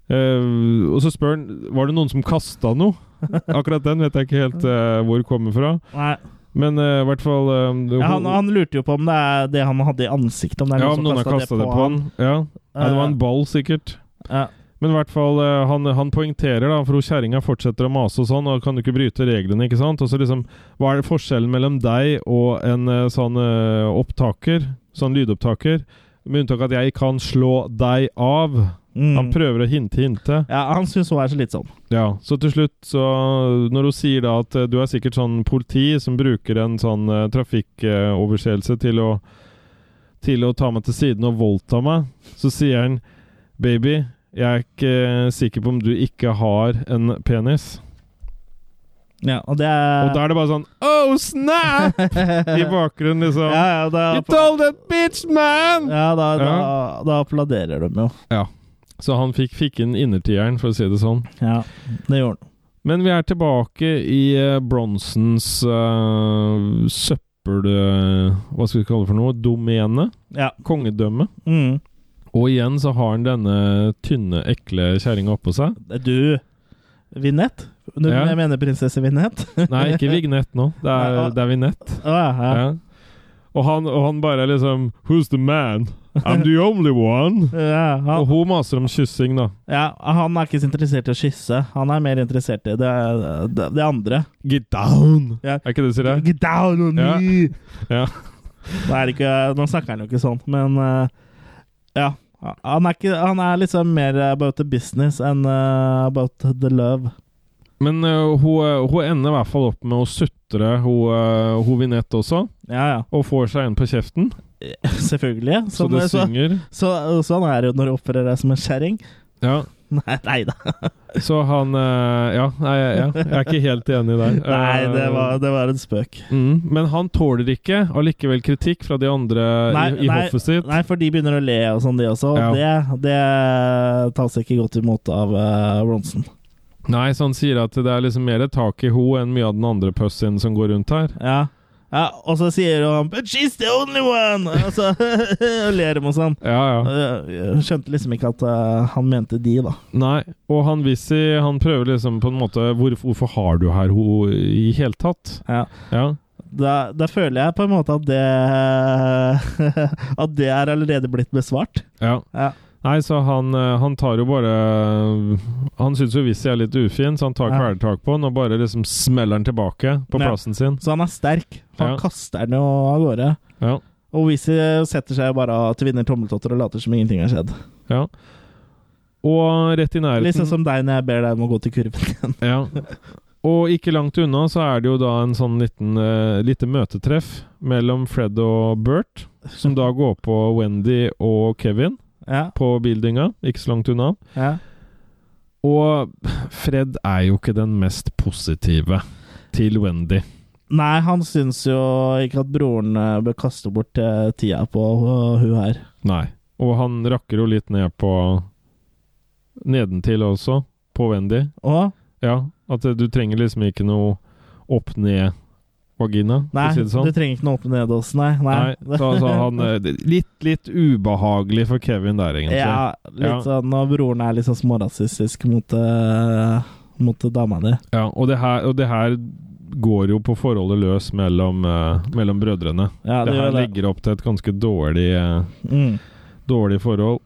A: Eh, og så spør han Var det noen som kasta noe. Akkurat den vet jeg ikke helt eh, hvor kommer fra.
B: Nei.
A: Men eh, i hvert fall eh,
B: Ja, han,
A: hun-
B: han lurte jo på om det er det han hadde i ansiktet. Om det er
A: ja, om noen
B: som
A: har kasta det på han. Ja. Nei, det var en ball, sikkert.
B: Eh, Ja.
A: Men i hvert fall, eh, han, han poengterer, da, for hun kjerringa fortsetter å mase og sånn, og kan du ikke bryte reglene, ikke sant? Og så liksom, hva er det forskjellen mellom deg og en eh, sånn eh, opptaker, sånn lydopptaker, med unntak at jeg kan slå deg av?
B: Mm.
A: Han prøver å hinte, hinte.
B: ja, han syns hun er så litt sånn.
A: Ja, så til slutt, så når hun sier da at eh, du er sikkert sånn politi som bruker en sånn eh, trafikkoverseelse til å til å ta meg til siden og voldta meg, så sier han Baby, jeg er ikke eh, sikker på om du ikke har en penis.
B: Ja, og det
A: Og da er det bare sånn Oh, snap! I bakgrunnen, liksom.
B: ja, ja, da,
A: You told that bitch, man!
B: ja, da, da,
A: Ja.
B: da applauderer de jo.
A: Så han fikk, fikk inn innertieren, for å si det sånn.
B: Ja, det gjorde han.
A: Men vi er tilbake i eh, Bronsons eh, søppel... eh, hva skal vi kalle det for noe? Domene?
B: Ja.
A: Kongedømme.
B: Mm.
A: Og igjen så har han denne tynne, ekle kjerringa oppå seg.
B: Du, Vinett? Du,
A: Ja.
B: Jeg mener prinsesse Vinett?
A: Nei, ikke Vignett nå. Det
B: Nei,
A: er,
B: hva-
A: det er Vignett.
B: ja, ja.
A: Ja. Og, han, og han bare er liksom Who's the man? I'm the only one.
B: Ja, han,
A: Og hun maser om kyssing, da.
B: ja, han er ikke så interessert i å kysse. Han er mer interessert i det, det, det andre.
A: Get down!
B: Ja.
A: Er ikke det du sier?
B: Get down on
A: Ja.
B: me!
A: Ja.
B: Nå, er det ikke, nå snakker han jo ikke sånn, men eh, ja. Han er, ikke, han er liksom mer about the business enn eh, about the love.
A: Men eh, hun, eh, hun ender i hvert fall opp med å sutre, hun, uh, hun Vignett også.
B: Ja, ja.
A: Og får seg en på kjeften,
B: Selvfølgelig.
A: så
B: Sånn,
A: det
B: så,
A: synger.
B: så, sånn er det jo når du oppfører deg som en kjerring.
A: Ja.
B: Nei, nei da.
A: Så han eh, Ja, nei, ja, jeg er ikke helt enig der.
B: Nei, det
A: Eh,
B: var, det var en spøk.
A: mm, Men han tåler ikke allikevel kritikk fra de andre
B: Nei,
A: i, i
B: nei,
A: hoffet sitt.
B: nei, for de begynner å le og sånn, de også. og Det, det tas ikke godt imot av uh, Bronsen.
A: Nei, så han sier at det er liksom mer tak i ho enn mye av den andre pussyen som går rundt her.
B: Ja. ja. Og så sier hun 'But she's the only one!' Og så ler de og sånn.
A: Ja, ja.
B: Jeg skjønte liksom ikke at eh, han mente de, da.
A: Nei. Og han Wizzy, han prøver liksom på en måte Hvor, Hvorfor har du her ho i hele tatt?
B: Ja.
A: Ja.
B: Da, da føler jeg på en måte at det At det er allerede blitt besvart.
A: ja.
B: Ja.
A: Nei, så han, eh, han tar jo bare Han syns jo Wizzy er litt ufin, så han tar
B: Ja.
A: kvelertak på han og bare liksom smeller han tilbake på
B: Ja.
A: plassen sin.
B: Så han er sterk.
A: Ja.
B: Han kaster den jo av gårde.
A: Ja.
B: Og Wizzy setter seg bare av til vinner tommeltotter og later som ingenting har skjedd.
A: ja. Og rett i nærheten
B: Litt sånn som deg når jeg ber deg om å gå til kurven igjen.
A: Ja. Og ikke langt unna så er det jo da en sånn liten eh, lite møtetreff mellom Fred og Bert, som da går på Wendy og Kevin
B: Ja,
A: på bildinga, ikke så langt unna.
B: ja.
A: Og Fred er jo ikke den mest positive til Wendy.
B: Nei, han syns jo ikke at broren eh, bør kaste bort eh, tida på eh, hun her.
A: Nei. Og han rakker jo litt ned på Nedentil også, på Wendy.
B: Og
A: Ja, at eh, du trenger liksom ikke noe opp-ned-vagina, for
B: nei,
A: å si det sånn.
B: du trenger ikke noe åpne nedås, nei. nei. altså,
A: Nei, så, så han eh, Litt, litt ubehagelig for Kevin der, egentlig.
B: ja, litt
A: Ja.
B: sånn når broren er litt sånn smårasistisk mot, eh, mot dama di.
A: Ja, og, det her, og det her går jo på forholdet løs mellom, eh, mellom brødrene.
B: Ja,
A: det,
B: det
A: her
B: gjør det.
A: legger opp til et ganske dårlig, eh,
B: Mm.
A: dårlig forhold.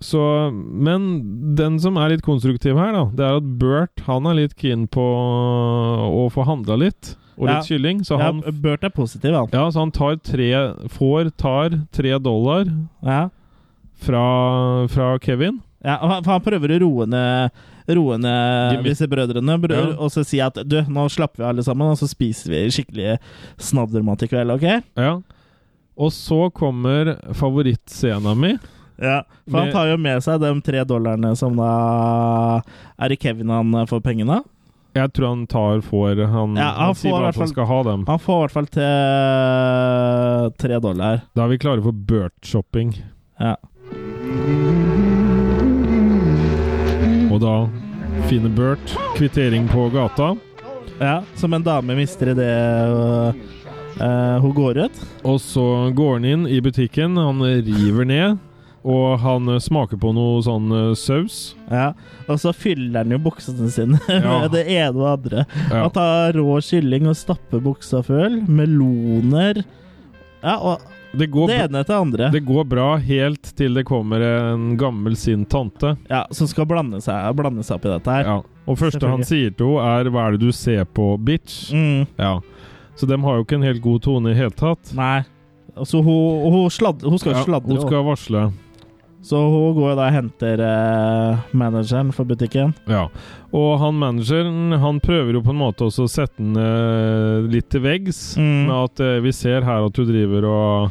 A: Så, men den som er litt konstruktiv her, da, det er at Bert han er litt keen på å få handla litt, og litt
B: Ja.
A: kylling. Så han,
B: ja, Bert er positiv, han.
A: ja, så han tar tre, får tar tre dollar
B: Ja.
A: fra, fra Kevin.
B: Ja, og han- for han prøver å roe ned, roe ned
A: Jimmy.
B: disse brødrene brø
A: Ja.
B: og så si at du, nå slapper vi alle sammen, og så spiser vi skikkelig snaddermat i kveld, OK?
A: Ja. Og så kommer favorittscena mi.
B: Ja, For han
A: Med-
B: tar jo med seg de tre dollarene som da Er det Kevin han får pengene av?
A: Jeg tror han tar får Han,
B: Ja, han
A: han, sier
B: får i
A: bare
B: hvert
A: at han
B: fall-
A: skal ha dem.
B: Han får i hvert fall til tre dollar.
A: Da er vi klare for Bert-shopping.
B: Ja.
A: Og da finner Bert kvittering på gata.
B: ja som en dame mister i det øh, øh, hun går ut.
A: Og så går han inn i butikken. Han river ned. Og han eh, smaker på noe sånn eh, saus.
B: Ja, Og så fyller han jo buksene sine
A: Ja.
B: med det ene og det andre.
A: Ja.
B: Han tar rå kylling og stapper buksa full. Meloner. Ja, og
A: Det går,
B: det
A: br-
B: ene til det andre.
A: det går bra helt til det kommer en gammel sint tante.
B: Ja, Som skal blande seg, blande seg opp i dette her.
A: Ja. Og første han sier til henne, er 'hva er det du ser på, bitch'?
B: Mm,
A: Ja. Så de har jo ikke en helt god tone i hele tatt.
B: nei. Så hun, hun, sladd, hun skal jo
A: Ja,
B: sladre,
A: hun skal varsle.
B: hun. så hun går jo da og henter eh, manageren for butikken.
A: Ja. Og han manageren han prøver jo på en måte også å sette den eh, litt til veggs.
B: Mm.
A: Med at eh, vi ser her at du driver og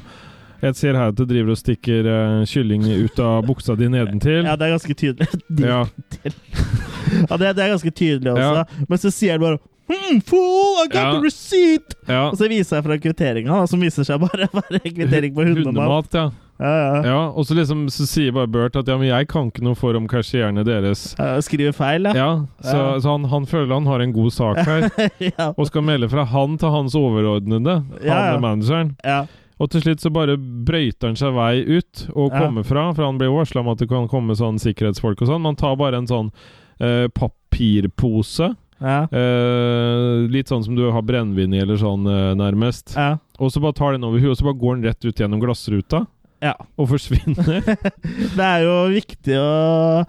A: Jeg ser her at du driver og stikker eh, kylling ut av buksa di nedentil.
B: Ja, det er ganske tydelig. De, ja.
A: Ja.
B: det, det er ganske
A: Ja.
B: tydelig også. Men så sier han bare hmm, Fool, I got
A: Ja.
B: the receipt!
A: ja.
B: Og så viser jeg fra kvitteringa, som viser seg bare å være kvittering på hundemat.
A: Hundemat, ja.
B: Ja, ja.
A: ja. Og så liksom så sier bare Bert at ja, men jeg kan ikke noe for om kasjerne deres.
B: Ja, Skriver feil, ja.
A: Ja, Så,
B: Ja.
A: så han, han føler han har en god sak her,
B: Ja.
A: og skal melde fra han til hans overordnede, han
B: Ja, ja.
A: er manageren.
B: ja.
A: Og til slutt så bare brøyter han seg vei ut og
B: Ja.
A: kommer fra, for han blir varsla om at det kan komme sånn sikkerhetsfolk og sånn. Man tar bare en sånn eh, papirpose,
B: ja.
A: eh, litt sånn som du har brennevin i eller sånn, eh, nærmest.
B: ja.
A: Og så bare tar den over huet, og så bare går den rett ut gjennom glassruta
B: Ja.
A: og forsvinner.
B: Det er jo viktig å,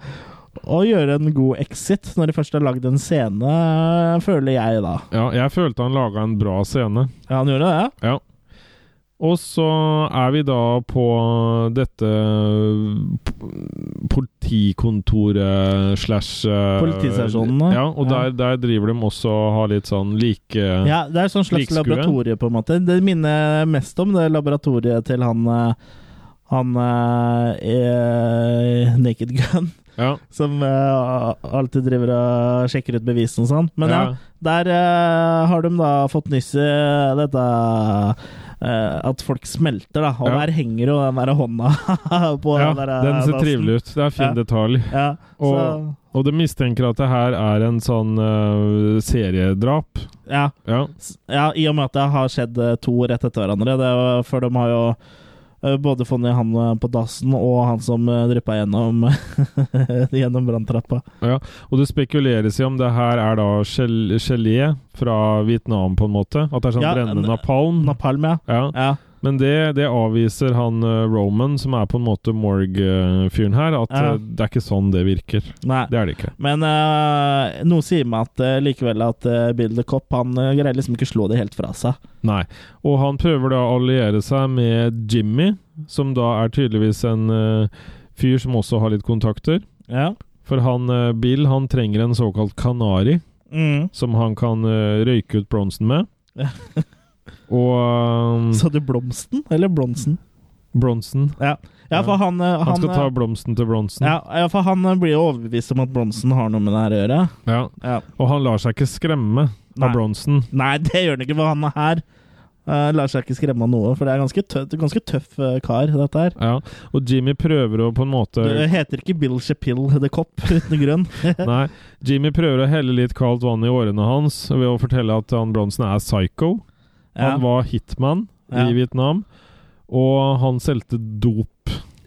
B: å gjøre en god exit når de først har lagd en scene, føler jeg, da.
A: ja, jeg følte han laga en bra scene.
B: Ja, han gjorde det?
A: Ja. Og så er vi da på dette p- politikontoret slash eh,
B: Politistasjonen, da.
A: Ja, og
B: Ja.
A: Der, der driver de også og har litt sånn like
B: Ja, Det er et sånt slags
A: Likskue.
B: laboratorie, på en måte. Det minner mest om det laboratoriet til han eh, han eh, i Naked Gun,
A: Ja.
B: som eh, alltid driver og sjekker ut bevisene og sånn. Men ja,
A: Ja.
B: Der eh, har de da fått nyss i dette eh, At folk smelter, da. Og
A: Ja.
B: der henger jo den der hånda på
A: Ja,
B: den der eh,
A: den ser
B: dassen.
A: trivelig ut. Det er fin
B: Ja.
A: detalj.
B: Ja,
A: Og,
B: så,
A: og de mistenker at det her er en sånn eh, seriedrap.
B: ja.
A: Ja.
B: S- ja, i og med at det har skjedd eh, to rett etter hverandre. Det er, jo- for de har jo eh, både funnet han eh, på dassen og han som eh, dryppa gjennom Gjennom branntrappa.
A: ja. Og det spekuleres i om det her er da gel gelé fra Vietnam, på en måte. At det er sånn
B: Ja, en-
A: brennende napalm.
B: Napalm, ja.
A: ja.
B: ja.
A: Men det, det avviser han eh, Roman, som er på en måte Morg-fyren her, at
B: Ja.
A: eh, det er ikke sånn det virker.
B: Nei.
A: Det er det ikke.
B: Men eh, noe sier meg at eh, likevel at eh, Bill the Cop han eh, greier liksom ikke slå det helt fra seg.
A: Nei. Og han prøver da å alliere seg med Jimmy, som da er tydeligvis en eh, fyr som også har litt kontakter.
B: Ja.
A: For han eh, Bill han trenger en såkalt kanari,
B: Mm.
A: som han kan eh, røyke ut bronsen med. um,
B: Ja.
A: Og um,
B: Sa du Blomsten eller Bronsen?
A: bronsen
B: Ja. Ja, for han, eh, han,
A: Han skal
B: eh,
A: ta blomsten til bronsen.
B: ja, ja, for han eh, blir jo overbevist om at Bronsen har noe med det her å gjøre.
A: Ja.
B: Ja.
A: Og han lar seg ikke skremme
B: Nei.
A: av bronsen.
B: Nei, det gjør han ikke, for han er her. Eh, lar seg ikke skremme av noe, for det er ganske tøff, ganske tøff eh, kar, dette her.
A: Ja. Og Jimmy prøver å på en måte
B: Det heter ikke Bill Chapill The Cop, uten grunn.
A: Nei. Jimmy prøver å helle litt kaldt vann i årene hans ved å fortelle at han Bronsen er psycho.
B: Ja,
A: Han var hitman
B: Ja.
A: i Vietnam, og han solgte dop.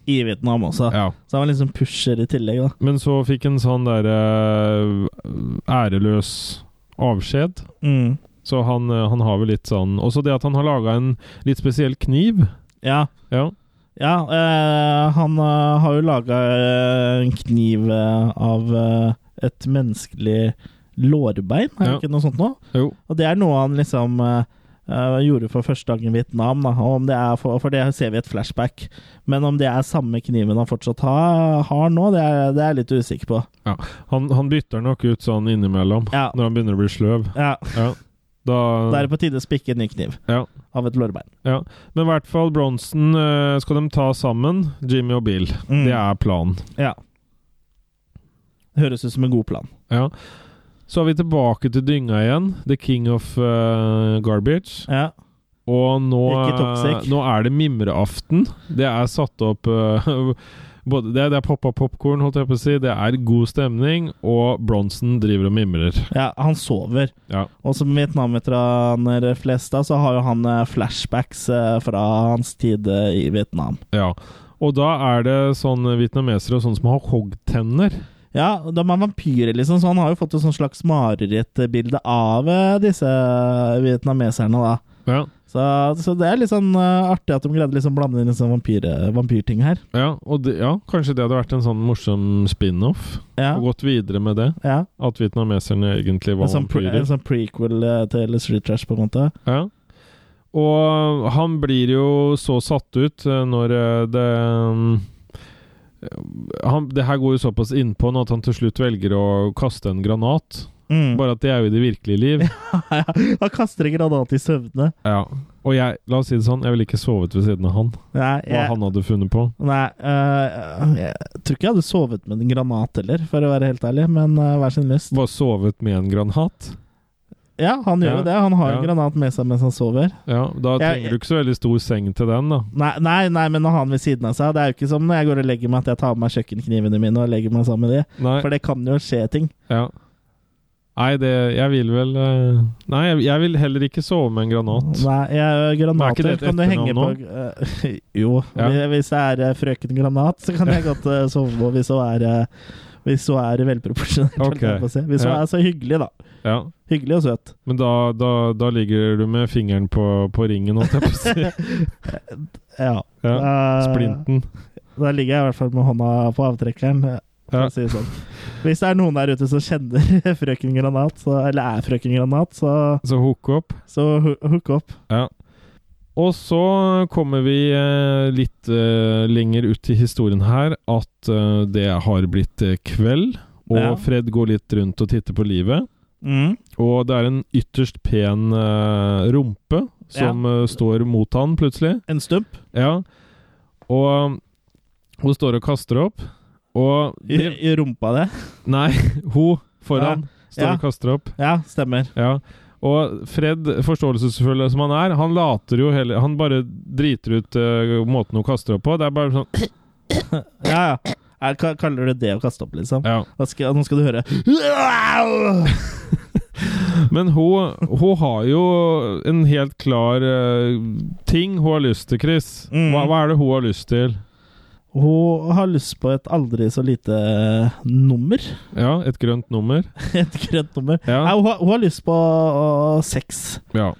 B: I Vietnam også.
A: Ja.
B: Så han var liksom pusher i tillegg, da.
A: Men så fikk han sånn derre æreløs avskjed.
B: Mm.
A: Så han, eh, han har vel litt sånn Også det at han har laga en litt spesiell kniv.
B: Ja.
A: Ja.
B: Ja, eh, han eh, har jo laga en kniv eh, av eh, et menneskelig lårbein, er det
A: Ja.
B: ikke noe sånt nå?
A: Jo.
B: Og det er noe han liksom eh, eh, gjorde for første gang i Vietnam, da. Og om det er for, for det ser vi i et flashback. Men om det er samme kniven han fortsatt ha, har nå, det er, det er jeg litt usikker på.
A: Ja. Han, han bytter nok ut sånn innimellom,
B: Ja.
A: når han begynner å bli sløv.
B: Ja,
A: Ja. Da,
B: Da er det på tide å spikke en ny kniv
A: Ja.
B: av et lårbein.
A: ja. Men i hvert fall, Bronsen eh, skal de ta sammen, Jimmy og Bill.
B: Mm.
A: Det er planen.
B: Ja. Høres ut som en god plan.
A: Ja. Så er vi tilbake til dynga igjen. The King of eh, Garbage.
B: Ja.
A: Og nå, eh,
B: Ikke toxic.
A: nå er det mimreaften. Det er satt opp eh, både, Det, det er poppa popkorn, holdt jeg på å si. Det er god stemning, og Bronsen driver og mimrer.
B: ja, han sover.
A: Ja.
B: Og som vietnamveteraner flest da, så har jo han eh, flashbacks eh, fra hans tid eh, i Vietnam.
A: ja. Og da er det sånne vietnamesere og sånne som har hoggtenner.
B: Ja, de er vampyrer, liksom, så han har jo fått et sånn slags marerittbilde av eh, disse vietnameserne, da.
A: Ja.
B: Så, så det er litt sånn eh, artig at de greide liksom å blande inn en sånn vampyr, vampyrting her.
A: Ja, og det, ja, kanskje det hadde vært en sånn morsom spin-off?
B: Ja.
A: Og gått videre med det?
B: ja.
A: At vietnameserne egentlig
B: En
A: var
B: sånn, pre,
A: vampyrer?
B: en sånn prequel eh, til Street Trash, på en måte.
A: Ja. Og han blir jo så satt ut eh, når eh, det mm, han, Det her går jo såpass innpå nå at han til slutt velger å kaste en granat.
B: Mm.
A: Bare at det er jo i det virkelige liv.
B: Han kaster en granat i søvne.
A: Ja. Og jeg, la oss si det sånn, jeg ville ikke sovet ved siden av han.
B: Nei,
A: Hva
B: jeg,
A: han hadde funnet på.
B: nei eh, jeg tror ikke jeg hadde sovet med en granat heller, for å være helt ærlig, men eh, hver sin lyst.
A: Bare sovet med en granat.
B: Ja, han gjør jo
A: Ja,
B: det. Han har jo
A: ja.
B: granat med seg mens han sover.
A: Ja, Da
B: Jeg-
A: trenger du ikke så veldig stor seng til den, da.
B: Nei, nei, nei men å ha den ved siden av seg Det er jo ikke som når jeg går og legger meg at jeg tar med meg kjøkkenknivene mine og legger meg sammen med de.
A: Nei.
B: For det kan jo skje ting.
A: Ja. Nei, det Jeg vil vel eh, Nei, jeg, jeg vil heller ikke sove med en granat.
B: Nei, jeg, eh,
A: Er ikke
B: granater
A: det et
B: kan du henge på
A: etternavn
B: eh, Jo,
A: Ja.
B: hvis- hvis det er eh, frøken Granat, så kan jeg godt eh, sove på hvis hun er eh, Hvis hun er velproporsjonert. holdt jeg
A: Ok.
B: på å si. Hvis hun
A: Ja.
B: er så hyggelig, da.
A: Ja.
B: Hyggelig og søt.
A: Men da, da, da ligger du med fingeren på, på ringen, holdt jeg på å si.
B: Ja.
A: Ja.
B: Eh,
A: Splinten.
B: Da ligger jeg i hvert fall med hånda på avtrekkeren. eh, For
A: Ja.
B: å si det sånn. Hvis det er noen der ute som kjenner frøken Granat, så, eller er frøken Granat, så,
A: Så hook opp.
B: så ho- hook opp.
A: Ja. Og så kommer vi eh, litt eh, lenger ut i historien her at eh, det har blitt eh, kveld. Og
B: Ja.
A: Fred går litt rundt og titter på livet.
B: Mm.
A: Og det er en ytterst pen eh, rumpe som eh, står mot han plutselig.
B: En stump.
A: Ja. Og um, hun står og kaster opp. Og
B: I, I rumpa, det.
A: Nei, hun foran står
B: Ja.
A: og kaster opp.
B: Ja, stemmer.
A: Ja. Og Fred, forståelsesfull som han er, han later jo heller Han bare driter ut eh, måten hun kaster opp på. Det er bare sånn
B: Ja, ja. Er, ka- kaller du det å kaste opp, liksom?
A: Ja.
B: Da skal, nå skal du høre
A: Men hun, hun har jo en helt klar eh, ting hun har lyst til, Chris.
B: Mm.
A: Hva, hva er det hun har lyst til?
B: Hun har lyst på et aldri så lite eh, nummer.
A: Ja, et grønt nummer?
B: Et grønt nummer.
A: Ja.
B: Nei, hun, har- hun har lyst på å, sex.
A: Ja.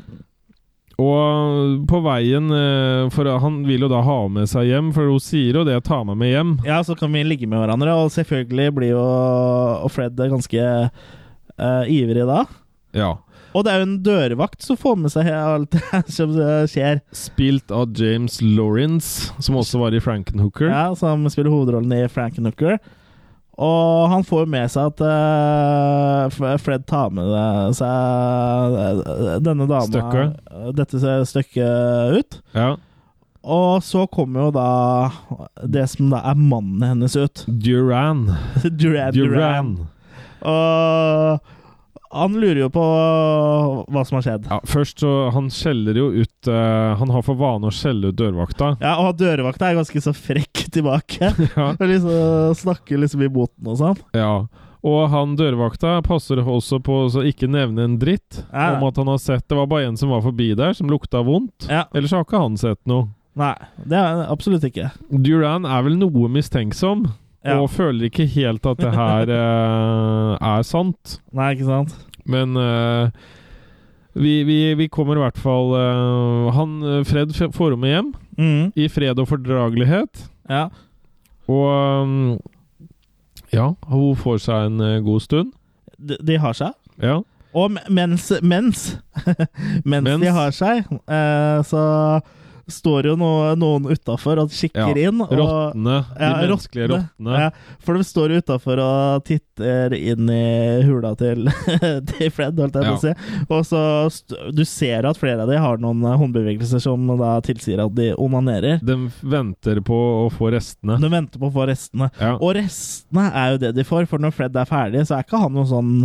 A: Og på veien eh, For han vil jo da ha med seg hjem, for hun sier jo det 'ta meg med hjem'.
B: Ja, så kan vi ligge med hverandre, og selvfølgelig blir jo og Fred ganske eh, ivrig da.
A: Ja.
B: Og det er jo en dørvakt som får med seg alt det her som eh, skjer.
A: Spilt av James Lawrence, som også var i Frankenhooker.
B: Ja, som spiller hovedrollen i Frankenhooker. Og han får jo med seg at eh, F- Fred tar med seg eh, denne dama
A: Støkket.
B: dette stykket ut.
A: Ja.
B: Og så kommer jo da det som da er mannen hennes ut.
A: Duran.
B: Duran Duran.
A: Duran.
B: Og han lurer jo på hva som har skjedd.
A: Ja, først så Han skjeller jo ut eh, Han har for vane å skjelle ut dørvakta.
B: Ja, og dørvakta er ganske så frekk tilbake.
A: Ja.
B: Og liksom Snakker liksom i boten og sånn.
A: Ja. Og han dørvakta passer også på å så ikke nevne en dritt
B: Ja.
A: om at han har sett Det var bare en som var forbi der, som lukta vondt.
B: Ja.
A: Ellers har ikke han sett noe.
B: Nei, det er han absolutt ikke.
A: Duran er vel noe mistenksom,
B: Ja.
A: og føler ikke helt at det her eh, er sant.
B: Nei, ikke sant?
A: Men eh, vi, vi, vi kommer i hvert fall eh, Han eh, Fred f- får henne med hjem
B: Mm,
A: i fred og fordragelighet.
B: ja.
A: Og mm, ja, hun får seg en eh, god stund.
B: De, de har seg.
A: Ja.
B: Og me- mens mens, mens
A: Mens.
B: de har seg, eh, så står jo noe, noen utafor og kikker inn. Og,
A: Rottene. De
B: Ja,
A: menneskelige
B: rottene.
A: rottene.
B: Ja, for de står utafor og titter inn i hula til, til Fred, holdt jeg på å si. Og så st du ser at flere av de har noen eh, håndbevegelser som da tilsier at de onanerer.
A: De venter på å få restene.
B: De venter på å få restene.
A: Ja.
B: Og restene er jo det de får, for når Fred er ferdig, så er ikke han noe sånn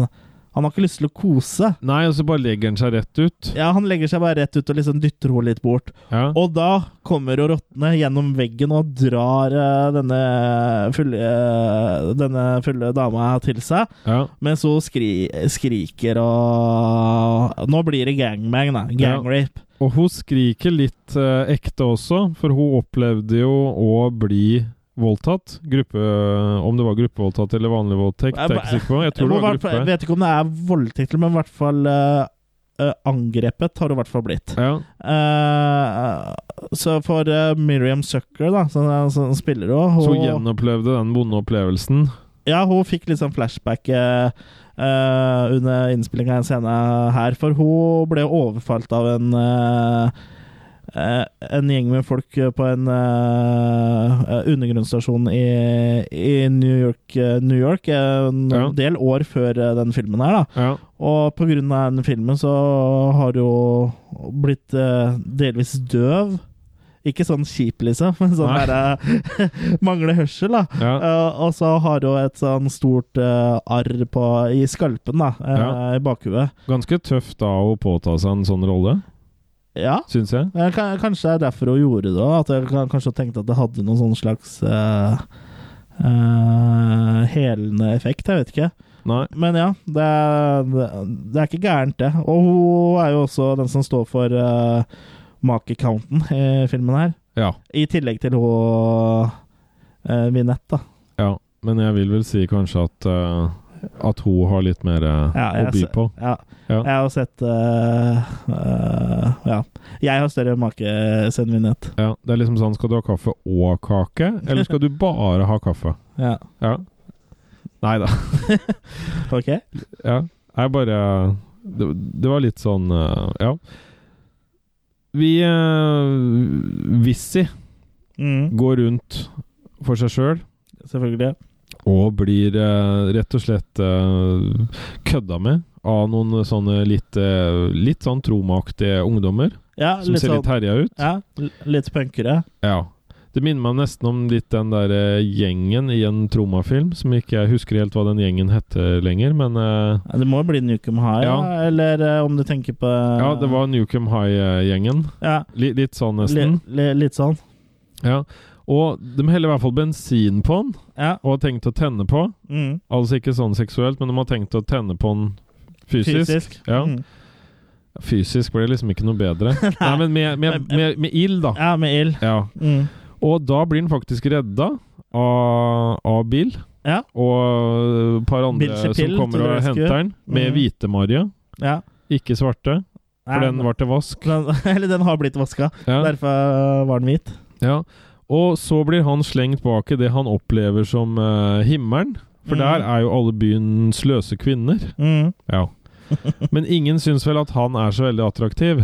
B: Han har ikke lyst til å kose.
A: Nei, og så bare legger han seg rett ut.
B: Ja, Han legger seg bare rett ut og liksom dytter henne litt bort.
A: Ja.
B: Og da kommer jo rottene gjennom veggen og drar eh, denne fulle, eh, denne fulle dama til seg.
A: ja.
B: Mens hun skri, skriker og Nå blir det gangbang, da.
A: Ja.
B: Gangrape.
A: Og hun skriker litt eh, ekte også, for hun opplevde jo å bli voldtatt. Gruppe, om det var gruppevoldtatt eller vanlig voldtekt, det er jeg ikke sikker på. Jeg tror det
B: Hun
A: var
B: hvert fall-
A: gruppe.
B: vet ikke om det er voldtekt, men i hvert fall eh, eh, angrepet har hun i hvert fall blitt.
A: Ja,
B: Eh, så for eh, Miriam Sucker, da, som, som spiller hun,
A: så hun
B: hun
A: gjenopplevde den vonde opplevelsen.
B: Ja, hun fikk litt sånn flashback eh, eh, under innspillinga av en scene her, for hun ble overfalt av en eh, eh, en gjeng med folk på en eh, undergrunnsstasjon i, i New York, eh, New York en
A: Ja.
B: del år før eh, den filmen her. da.
A: Ja.
B: Og på grunn av den filmen så har hun blitt eh, delvis døv. Ikke sånn kjip, liksom, men sånn
A: Nei.
B: der eh, mangler hørsel, da.
A: Ja.
B: Eh, og så har hun et sånn stort eh, arr på, i skalpen, da. eh,
A: Ja.
B: I bakhuet.
A: Ganske tøft da å påta seg en sånn rolle,
B: Ja.
A: syns jeg.
B: eh, ka- Kanskje det er derfor hun gjorde det òg. At jeg kan- kanskje hun tenkte at det hadde noen sånn slags eh, eh, helende effekt. Jeg vet ikke.
A: Nei.
B: Men ja, det er, det er ikke gærent, det. Og hun er jo også den som står for uh, makecounten i filmen her.
A: Ja.
B: I tillegg til hun eh, Minette, da.
A: ja. Men jeg vil vel si kanskje at, eh, at hun har litt mer eh,
B: Ja, jeg
A: å by
B: ser-
A: på.
B: Ja.
A: Ja.
B: Jeg har sett øh, øh, Ja. Jeg har større make enn Minette.
A: Ja, det er liksom sånn, skal du ha kaffe og kake, eller skal du bare ha kaffe?
B: Ja.
A: Ja. Nei da.
B: Ok?
A: Ja. Jeg bare det, det var litt sånn eh, Ja. Vi eh, Vissi
B: Mm,
A: går rundt for seg sjøl
B: selvfølgelig.
A: og blir eh, rett og slett eh, kødda med av noen sånne litt, eh, litt sånn tromaaktige ungdommer
B: Ja,
A: som
B: litt
A: ser
B: sånn
A: litt herja ut.
B: ja, l- Litt punkere.
A: Ja. Det minner meg nesten om litt den der eh, gjengen i en Troma-film, som ikke jeg husker helt hva den gjengen heter lenger, men eh,
B: Ja, Det må jo bli Nukem High, ja.
A: Ja.
B: eller øh, om du tenker på
A: Ja, det var Newcomb High-gjengen.
B: ja,
A: Li litt sånn,
B: li,
A: nesten.
B: li, Litt sånn.
A: Ja. Og de heller i hvert fall bensin på den,
B: Ja.
A: og har tenkt å tenne på.
B: Mm,
A: Altså ikke sånn seksuelt, men de har tenkt å tenne på den fysisk. Fysisk, Ja.
B: Mm.
A: fysisk ble det liksom ikke noe bedre. Nei, men med, med, med, med ild, da.
B: ja, med ild.
A: Ja.
B: Mm.
A: Og da blir han faktisk redda av, av Bill.
B: Ja.
A: Og et par andre
B: Bill
A: som
B: Chappelle
A: kommer
B: til
A: og
B: rescue.
A: henter han, med
B: Mhm.
A: hvite Marie.
B: Ja.
A: Ikke svarte, for
B: Nei,
A: den var til vask.
B: den, Eller den har blitt vaska.
A: Ja,
B: Derfor øh, var den hvit.
A: ja. Og så blir han slengt bak i det han opplever som eh, himmelen. For
B: Mhm.
A: der er jo alle byens løse kvinner.
B: Mm.
A: Ja. Men ingen syns vel at han er så veldig attraktiv.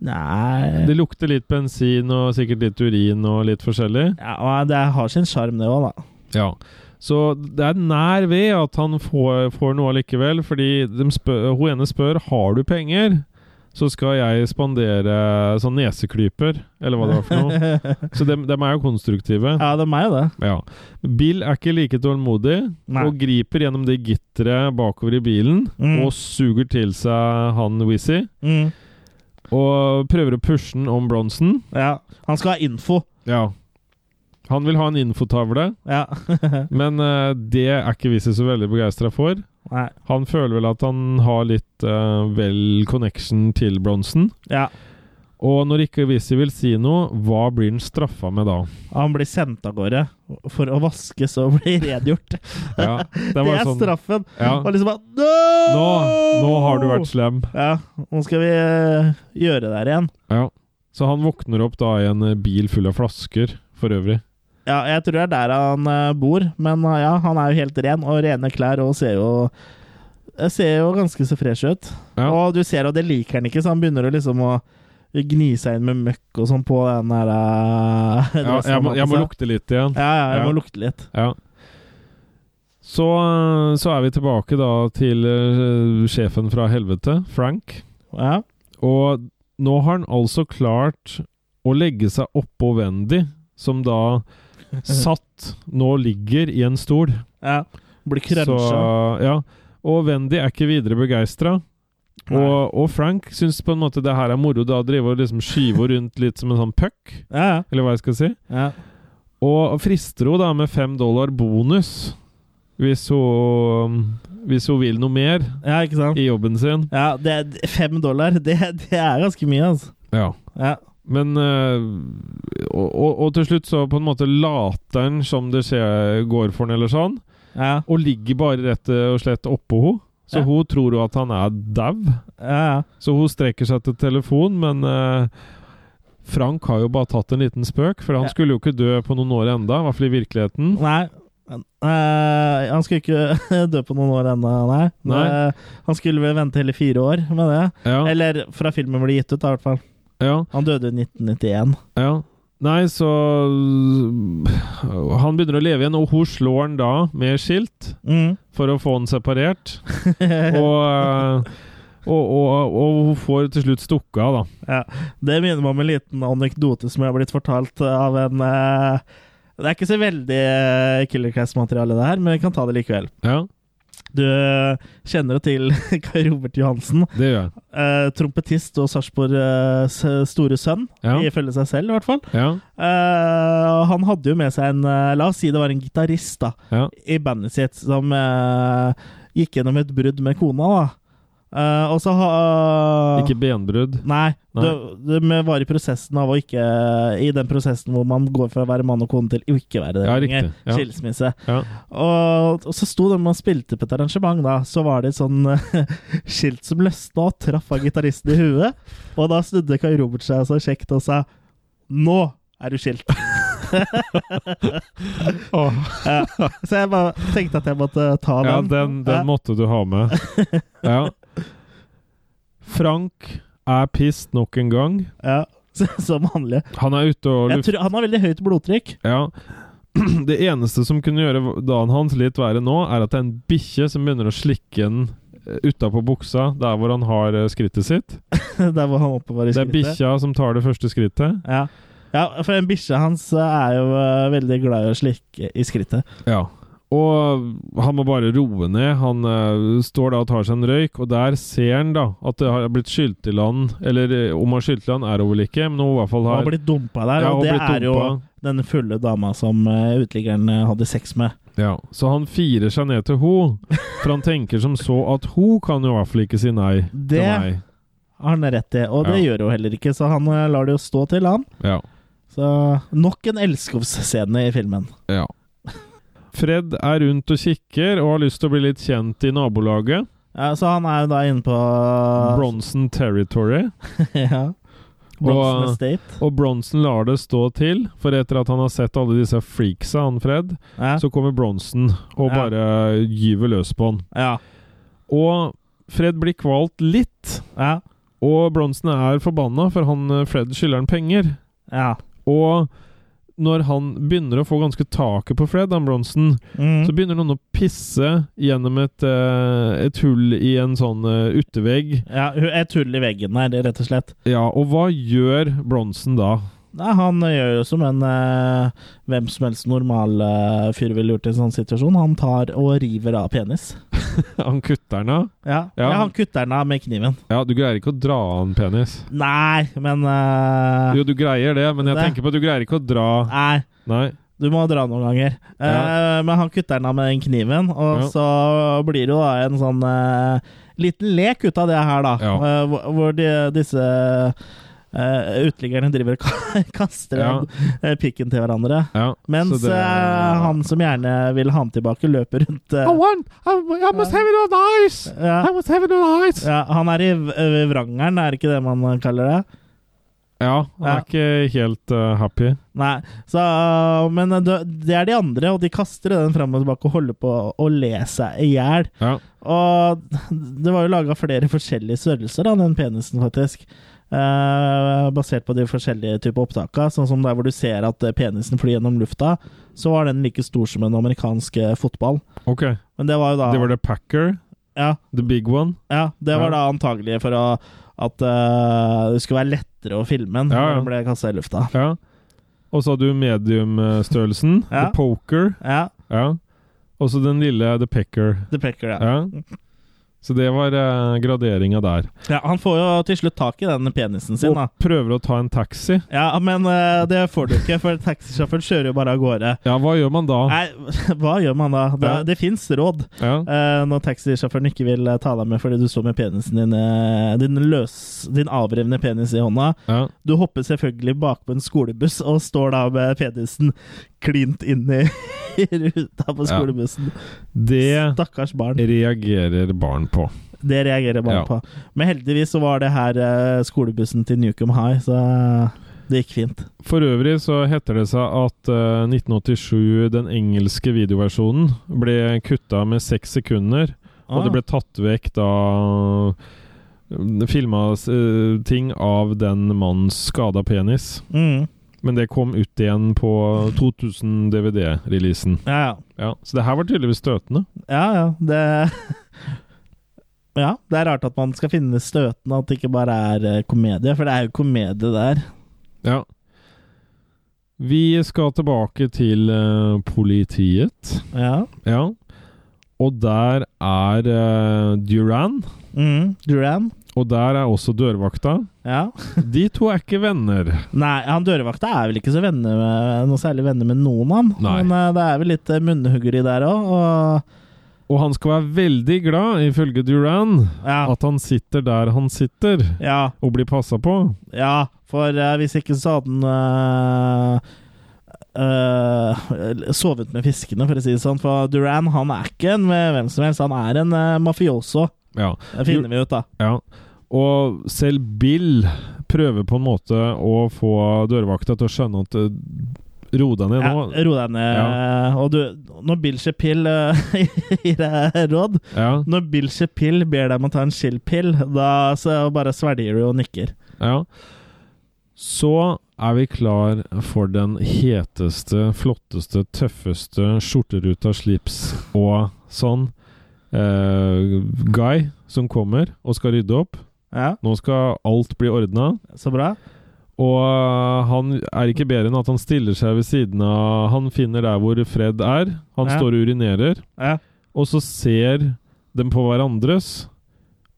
B: Nei
A: Det lukter litt bensin og sikkert litt urin og litt forskjellig.
B: ja, og Det har sin sjarm, det òg, da.
A: Ja. Så det er nær ved at han får, får noe allikevel, fordi de spør, hun ene spør har du penger. så skal jeg spandere sånn neseklyper, eller hva det var for noe. Så dem, dem er jo konstruktive.
B: Ja, det er meg, det.
A: Ja. Bill er ikke like tålmodig
B: Nei.
A: og griper gjennom det gitteret bakover i bilen
B: Mm.
A: og suger til seg han Wizzy.
B: Mm.
A: Og prøver å pushe den om Bronson.
B: Ja. Han skal ha info.
A: Ja. Han vil ha en infotavle,
B: Ja.
A: men eh, det er ikke Wizzy så veldig begeistra for.
B: Nei.
A: Han føler vel at han har litt eh, vel connection til Bronson.
B: Ja.
A: Og når ikke Wizzy vil si noe, hva blir han straffa med da?
B: Han blir sendt av gårde for å vaskes og bli rengjort.
A: Ja,
B: Det
A: var
B: er
A: sånn-
B: straffen.
A: Ja.
B: Og liksom bare no!
A: Nå, nå har du vært slem.
B: Ja, nå skal vi eh, gjøre det her igjen.
A: Ja. Så han våkner opp da i en eh, bil full av flasker, for øvrig.
B: Ja, jeg tror det er der han eh, bor, men eh, ja, han er jo helt ren og rene klær og ser jo eh, Ser jo ganske så fresh ut.
A: Ja.
B: Og du ser at det liker han ikke, så han begynner å liksom å gni seg inn med møkk og sånn på den der
A: Ja,
B: eh, dressen
A: jeg, må,
B: han
A: jeg
B: har på
A: må
B: seg.
A: lukte litt igjen.
B: Ja, ja, jeg
A: Ja.
B: må lukte litt.
A: Ja. Så, eh, så er vi tilbake da til eh, sjefen fra helvete, Frank.
B: Ja.
A: Og nå har han altså klart å legge seg oppå Wendy, som da satt nå ligger i en stol.
B: ja. Blir krønsja.
A: Så, ja. Og Wendy er ikke videre begeistra.
B: Nei.
A: Og, og Frank syns på en måte det her er moro, da driver og liksom skyver rundt litt som en sånn puck,
B: Ja, ja.
A: eller hva jeg skal si.
B: ja.
A: Og frister henne da med fem dollar bonus hvis hun, hvis hun vil noe mer
B: ja ikke sant?
A: i jobben sin.
B: Ja, det er fem dollar. Det, det er ganske mye, altså.
A: Ja.
B: Ja.
A: Men øh, og, og, og til slutt så på en måte later han som det skjer, går for han eller sånn,
B: Ja.
A: og ligger bare rett og slett oppå henne. Så
B: Ja.
A: hun tror jo at han er dau.
B: Ja, ja.
A: Så hun strekker seg til telefon, men eh, Frank har jo bare tatt en liten spøk, for han
B: Ja.
A: skulle jo ikke dø på noen år enda, i hvert fall i virkeligheten.
B: Nei. Eh, han skulle ikke dø på noen år ennå, nei.
A: Nei.
B: Eh, han skulle vel vente hele fire år med det.
A: Ja,
B: Eller fra filmen ble gitt ut, da, i hvert fall.
A: ja,
B: Han døde i 1991.
A: ja. Nei, så Han begynner å leve igjen, og hun slår han da med skilt
B: Mm.
A: for å få han separert. Og, eh, og, og, og hun får til slutt stukket av, da.
B: Ja. Det minner meg om en liten anekdote som jeg har blitt fortalt av en eh, Det er ikke så veldig eh, Killer Class-materiale, det her, men vi kan ta det likevel.
A: Ja,
B: Du eh, kjenner jo til Kai Robert Johansen,
A: det gjør jeg.
B: eh, trompetist og Sarpsborg eh, s- store sønn,
A: Ja.
B: ifølge seg selv, i hvert fall.
A: Ja,
B: Eh, og han hadde jo med seg en eh, La oss si det var en gitarist da
A: ja,
B: i bandet sitt som eh, gikk gjennom et brudd med kona. da Eh, Og så ha
A: Ikke benbrudd.
B: Nei.
A: Nei.
B: Det, det var i prosessen av å ikke I den prosessen hvor man går fra å være mann og kone til å ikke være det
A: Ja,
B: lenger.
A: riktig, ja.
B: Skilsmisse.
A: Ja.
B: Og, og så sto det når man spilte på et arrangement, da, så var det et sånn skilt som løsna og traff av gitaristen i huet. Og da snudde Kai Robert seg så kjekt og sa Nå er du skilt. Ja. Så jeg bare tenkte at jeg måtte ta den.
A: Ja, den,
B: Ja.
A: den måtte du ha med. Ja. Frank er pissed nok en gang.
B: Ja. Som vanlig.
A: Han er ute og
B: Jeg
A: lufter
B: tror, han har veldig høyt blodtrykk.
A: ja. Det eneste som kunne gjøre dagen hans litt verre nå, er at det er en bikkje som begynner å slikke den eh, utapå buksa, der hvor han har eh, skrittet sitt.
B: Der hvor han oppbevarer
A: Det er
B: skrittet.
A: bikkja som tar det første skrittet.
B: Ja. ja, for en bikkje hans er jo eh, veldig glad i å slikke i skrittet.
A: Ja. Og han må bare roe ned. Han eh, står da og tar seg en røyk, og der ser han da at det har blitt skylt i land. Eller eh, om han har skylt i land, er det vel ikke, men hun i hvert fall
B: Og har
A: har
B: blitt dumpa der,
A: Ja,
B: og
A: og
B: det
A: blitt
B: er jo
A: dumpa.
B: denne fulle dama som eh, uteliggeren eh, hadde sex med.
A: Ja, så han firer seg ned til ho, for han tenker som så at ho kan jo i hvert fall ikke si nei
B: Det-
A: til meg.
B: Har han rett i, og det
A: Ja.
B: gjør hun heller ikke, så han eh, lar det jo stå til, han.
A: Ja,
B: Så nok en elskovsscene i filmen.
A: ja. Fred er rundt og kikker og har lyst til å bli litt kjent i nabolaget.
B: Ja, så han er jo da inne på
A: Bronson Territory.
B: ja. Bronson
A: Og-
B: Estate.
A: Og Bronson lar det stå til, for etter at han har sett alle disse freaksa, han Fred,
B: Ja.
A: så kommer Bronson og
B: Ja.
A: bare gyver løs på han.
B: ja.
A: Og Fred blir kvalt litt,
B: Ja.
A: og Bronson er forbanna, for han eh, Fred skylder han penger.
B: ja.
A: Og når han begynner å få ganske taket på Fred, han Bronson,
B: Mm.
A: så begynner noen å pisse gjennom et, eh, et hull i en sånn eh, utevegg.
B: Ja, hu- et hull i veggen her, rett og slett.
A: Ja, og hva gjør Bronson da?
B: Nei, han gjør jo som en eh, hvem som helst normal eh, fyr ville gjort i en sånn situasjon. Han tar og river av penis.
A: Han kutter den av?
B: Ja,
A: Ja.
B: ja. Han kutter den av med kniven.
A: Ja, du greier ikke å dra av en penis.
B: Nei, men eh,
A: Jo, du greier det, men jeg
B: Det.
A: tenker på at du greier ikke å dra
B: Nei,
A: Nei.
B: du må dra noen ganger. Eh, men han kutter den av med den kniven, og
A: Ja.
B: så blir det jo da en sånn eh, liten lek ut av det her, da.
A: Ja.
B: Eh, hvor- hvor de, disse eh, uteliggerne driver og kaster
A: Ja.
B: eh, pikken til hverandre.
A: Ja,
B: Mens
A: så det-
B: eh, han som gjerne vil ha den tilbake, løper rundt eh,
A: want, I, I must have it on ice!
B: ja,
A: must have it on ice!
B: ja, Han er i v- eh, vrangeren, er det ikke det man kaller det?
A: Ja, han
B: Ja.
A: er ikke helt eh, happy.
B: Nei, så, eh, Men det, det er de andre, og de kaster den fram og tilbake og holder på å le seg i hjel.
A: Ja.
B: Og det var jo laga flere forskjellige størrelser av den penisen, faktisk. Eh, basert på de forskjellige typer opptaka. Sånn som der hvor du ser at eh, penisen flyr gjennom lufta, så var den like stor som en amerikansk eh, fotball.
A: Ok, det
B: Men det var jo da
A: var det Packer,
B: Ja,
A: the big one.
B: Ja, det
A: Ja.
B: var da antagelig for å, at eh, det skulle være lettere å filme den
A: Ja, ja.
B: når den ble kasta i lufta.
A: Ja. Og så hadde du mediumstørrelsen,
B: Ja.
A: the poker.
B: Ja,
A: Ja. Og så den lille the pecker.
B: det pekker det. Ja.
A: Ja. Så det var eh, graderinga der.
B: han får jo til slutt tak i den penisen sin,
A: Og
B: da.
A: prøver å ta en taxi.
B: Ja, men eh, det får du ikke, for taxisjåføren kjører jo bare av gårde.
A: Ja, hva gjør man da?
B: Nei, hva gjør man da? Det,
A: Ja.
B: det fins råd
A: Ja.
B: eh, når taxisjåføren ikke vil eh, ta deg med fordi du står med penisen din, eh, din løs, din avrevne penis i hånda.
A: Ja.
B: Du hopper selvfølgelig bakpå en skolebuss og står da med penisen klint inni ruta på
A: Ja.
B: skolebussen.
A: Det
B: Stakkars barn.
A: reagerer barn på.
B: Det reagerer barn
A: Ja.
B: på. Men heldigvis så var det her eh, skolebussen til Newcombe High, så eh, det gikk fint.
A: For øvrig så heter det seg at eh, 1987, den engelske videoversjonen, ble kutta med seks sekunder. Og det ble tatt vekk da Filma ting av den mannens skada penis.
B: mm.
A: Men det kom ut igjen på 2000-DVD-releasen.
B: Ja, ja.
A: Ja, Så det her var tydeligvis støtende.
B: Ja, ja. Det Ja, det er rart at man skal finne støtene, at det ikke bare er eh, komedie, for det er jo komedie der.
A: Ja. Vi skal tilbake til eh, politiet.
B: Ja.
A: Ja. Og der er eh, Duran.
B: Mm. Duran.
A: Og der er også dørvakta.
B: Ja.
A: De to er ikke venner.
B: Nei, han dørvakta er vel ikke så venner med, noe særlig venner med noen, han.
A: Nei.
B: Men eh, det er vel litt eh, munnhuggeri der òg, og
A: Og han skal være veldig glad, ifølge Duran,
B: Ja.
A: at han sitter der han sitter,
B: ja.
A: og blir passa på.
B: ja for eh, hvis ikke så hadde han eh, eh, sovet med fiskene, for å si det sånn. For Duran han er ikke en eh, hvem som helst, han er en eh, mafioso.
A: Ja.
B: Det finner vi ut, da.
A: ja. Og selv Bill prøver på en måte å få dørvakta til å skjønne at eh, Ro deg ned
B: Ja,
A: nå.
B: ro deg ned. Og du, når Bill Chappell gir deg råd
A: Ja,
B: Når Bill Chappell ber deg om å ta en chill-pill, da så bare svelger du og nikker.
A: ja. Så er vi klar for den heteste, flotteste, tøffeste skjorteruta slips og sånn eh, guy som kommer og skal rydde opp.
B: Ja,
A: Nå skal alt bli ordna.
B: Så bra.
A: Og øh, han er ikke bedre enn at han stiller seg ved siden av Han finner der hvor Fred er. Han
B: Ja.
A: står og urinerer.
B: Ja.
A: Og så ser dem på hverandres.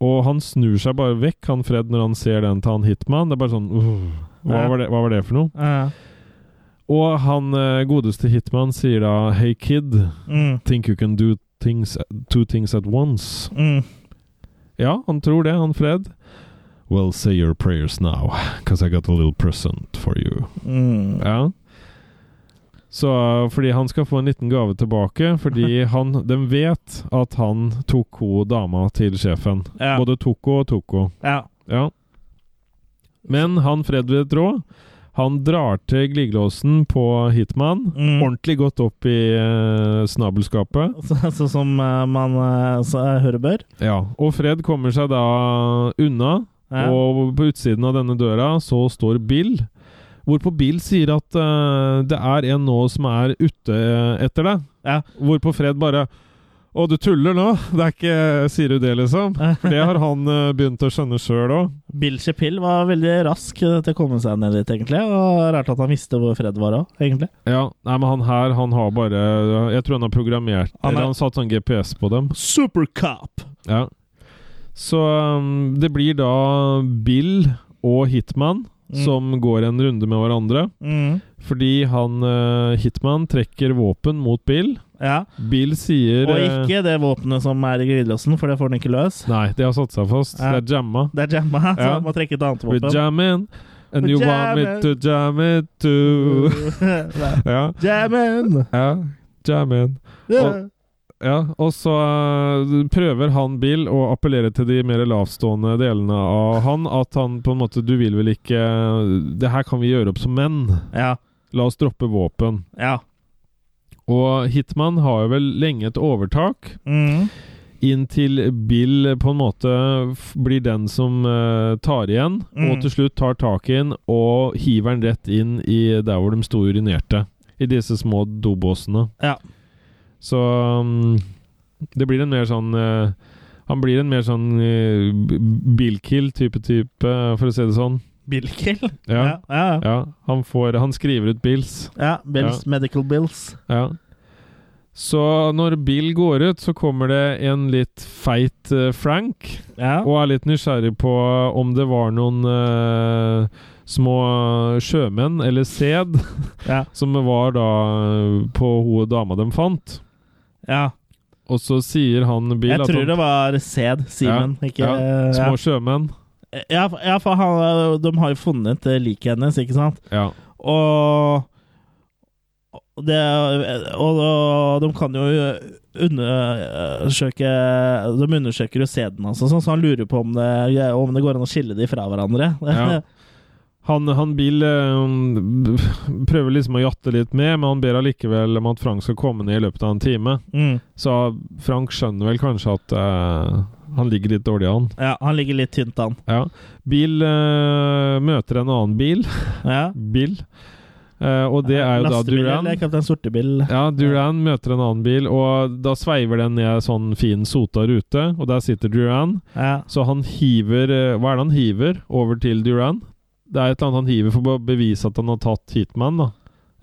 A: Og han snur seg bare vekk, han Fred, når han ser den til han Hitman. Det er bare sånn «Uff, hva,
B: Ja.
A: var det, hva var det for noe?
B: Ja.
A: Og han øh, godeste Hitman sier da Hey kid,
B: Mm.
A: think you can do things, two things at once.
B: Mm.
A: Ja, han tror det, han Fred. Well, say your prayers now, cause I got a little present for you.
B: Mm.
A: Ja. Så øh, fordi han skal få en liten gave tilbake, fordi han, de vet at han tok ho dama til sjefen.
B: Ja.
A: Både tok ho og tok ho.
B: ja.
A: Ja. Men han Fred vet råd. Han drar til glidelåsen på Hitman.
B: Mm.
A: Ordentlig godt opp i eh, snabelskapet.
B: Så, så som eh, man eh, så, hører bør.
A: Ja. Og Fred kommer seg da unna,
B: Ja.
A: og på utsiden av denne døra så står Bill. Hvorpå Bill sier at eh, det er en nå som er ute eh, etter deg.
B: Ja.
A: Hvorpå Fred bare Å, du tuller nå? Det er ikke Sier du det, liksom? For det har han eh, begynt å skjønne sjøl òg.
B: Bill Chappell var veldig rask eh, til å komme seg ned dit, egentlig. Og Rart at han visste hvor Fred var òg, egentlig.
A: Ja, nei, men han her, han har bare Jeg tror han har programmert
B: Han er-
A: Eller han satt sånn GPS på dem.
B: Supercop!
A: Ja. Så um, det blir da Bill og Hitman
B: Mm.
A: som går en runde med hverandre.
B: Mm.
A: Fordi han eh, Hitman trekker våpen mot Bill.
B: Ja.
A: Bill sier
B: Og
A: eh,
B: ikke det våpenet som er i glidelåsen, for det får han ikke løs.
A: Nei, de har satt seg fast.
B: Ja.
A: Det er jamma.
B: Det er jamma, så
A: Ja.
B: han må trekke et annet
A: We
B: våpen.
A: jam in, and
B: We
A: you want me
B: jammin'.
A: to jam it too.
B: Nei.
A: Ja,
B: Jammen!
A: ja. Jam in.
B: Yeah.
A: Ja, og så eh, prøver han Bill å appellere til de mer lavstående delene av han. At han på en måte Du vil vel ikke Det her kan vi gjøre opp som menn.
B: Ja.
A: La oss droppe våpen.
B: Ja.
A: Og Hitman har jo vel lenge et overtak.
B: Mm.
A: Inntil Bill på en måte f- blir den som eh, tar igjen,
B: Mm.
A: og til slutt tar tak i den og hiver den rett inn i der hvor de sto og urinerte. I disse små dobåsene.
B: Ja.
A: Så um, det blir en mer sånn eh, Han blir en mer sånn eh, b- Bill-kill-type type, for å si det sånn.
B: Bilkill?
A: Ja.
B: Ja. ja.
A: ja. Han, får, han skriver ut Bills.
B: ja. Bills, Medical Bills.
A: Ja. Så når Bill går ut, så kommer det en litt feit eh, Frank,
B: Ja.
A: og er litt nysgjerrig på om det var noen eh, små sjømenn, eller sæd,
B: Ja.
A: som var da eh, på hun dama de fant.
B: ja.
A: Og så sier han Bill
B: Jeg tror
A: at
B: det var sæd, Simen. Ikke
A: ja,
B: ja.
A: Små sjømenn.
B: Ja, for- ja, for han, de har jo funnet eh, liket hennes, ikke sant?
A: Ja.
B: Og og det, og, og de kan jo undersøke De undersøker jo sæden hans, og sånn, så han lurer på om det, om det går an å skille de fra hverandre.
A: Ja. Han, han Bill eh, prøver liksom å jatte litt med, men han ber allikevel om at Frank skal komme ned i løpet av en time.
B: mm,
A: Så Frank skjønner vel kanskje at eh, han ligger litt dårlig an.
B: ja han ligger litt tynt an.
A: Ja. Bil eh, møter en annen bil.
B: Ja.
A: Bil. Eh, og det er jo da
B: Lastebil
A: Duran.
B: eller Kaptein Sortebil.
A: Ja, Duran møter en annen bil, og da sveiver den ned sånn fin sota rute, og der sitter Duran.
B: Ja.
A: Så han hiver eh, Hva er det han hiver over til Duran? Det er et eller annet han hiver for å bevise at han har tatt Hitman, da.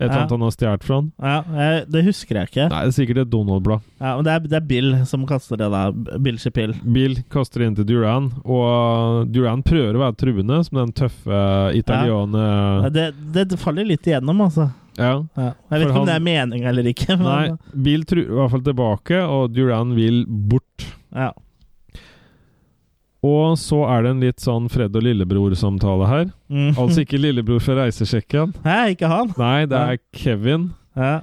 A: Et eller
B: Ja.
A: annet han har stjålet fra han.
B: Ja, jeg- det husker jeg ikke.
A: Nei, det er sikkert et Donald-blad.
B: Ja, men det er, det er Bill som kaster det der. Bill Chappell.
A: Bill kaster inn til Duran, og Duran prøver å være truende, som den tøffe italiene
B: Ja, Det, det faller litt igjennom, altså.
A: Ja.
B: Ja. Jeg vet
A: For
B: ikke om det
A: han-
B: er meninga eller ikke. Men,
A: Nei, Bill truer i hvert fall tilbake, og Duran vil bort.
B: Ja.
A: Og så er det en litt sånn Fred og lillebror-samtale her.
B: Mm.
A: Altså ikke lillebror fra reisesjekken.
B: Hæ, ikke han?
A: Nei, det er Kevin.
B: Ja.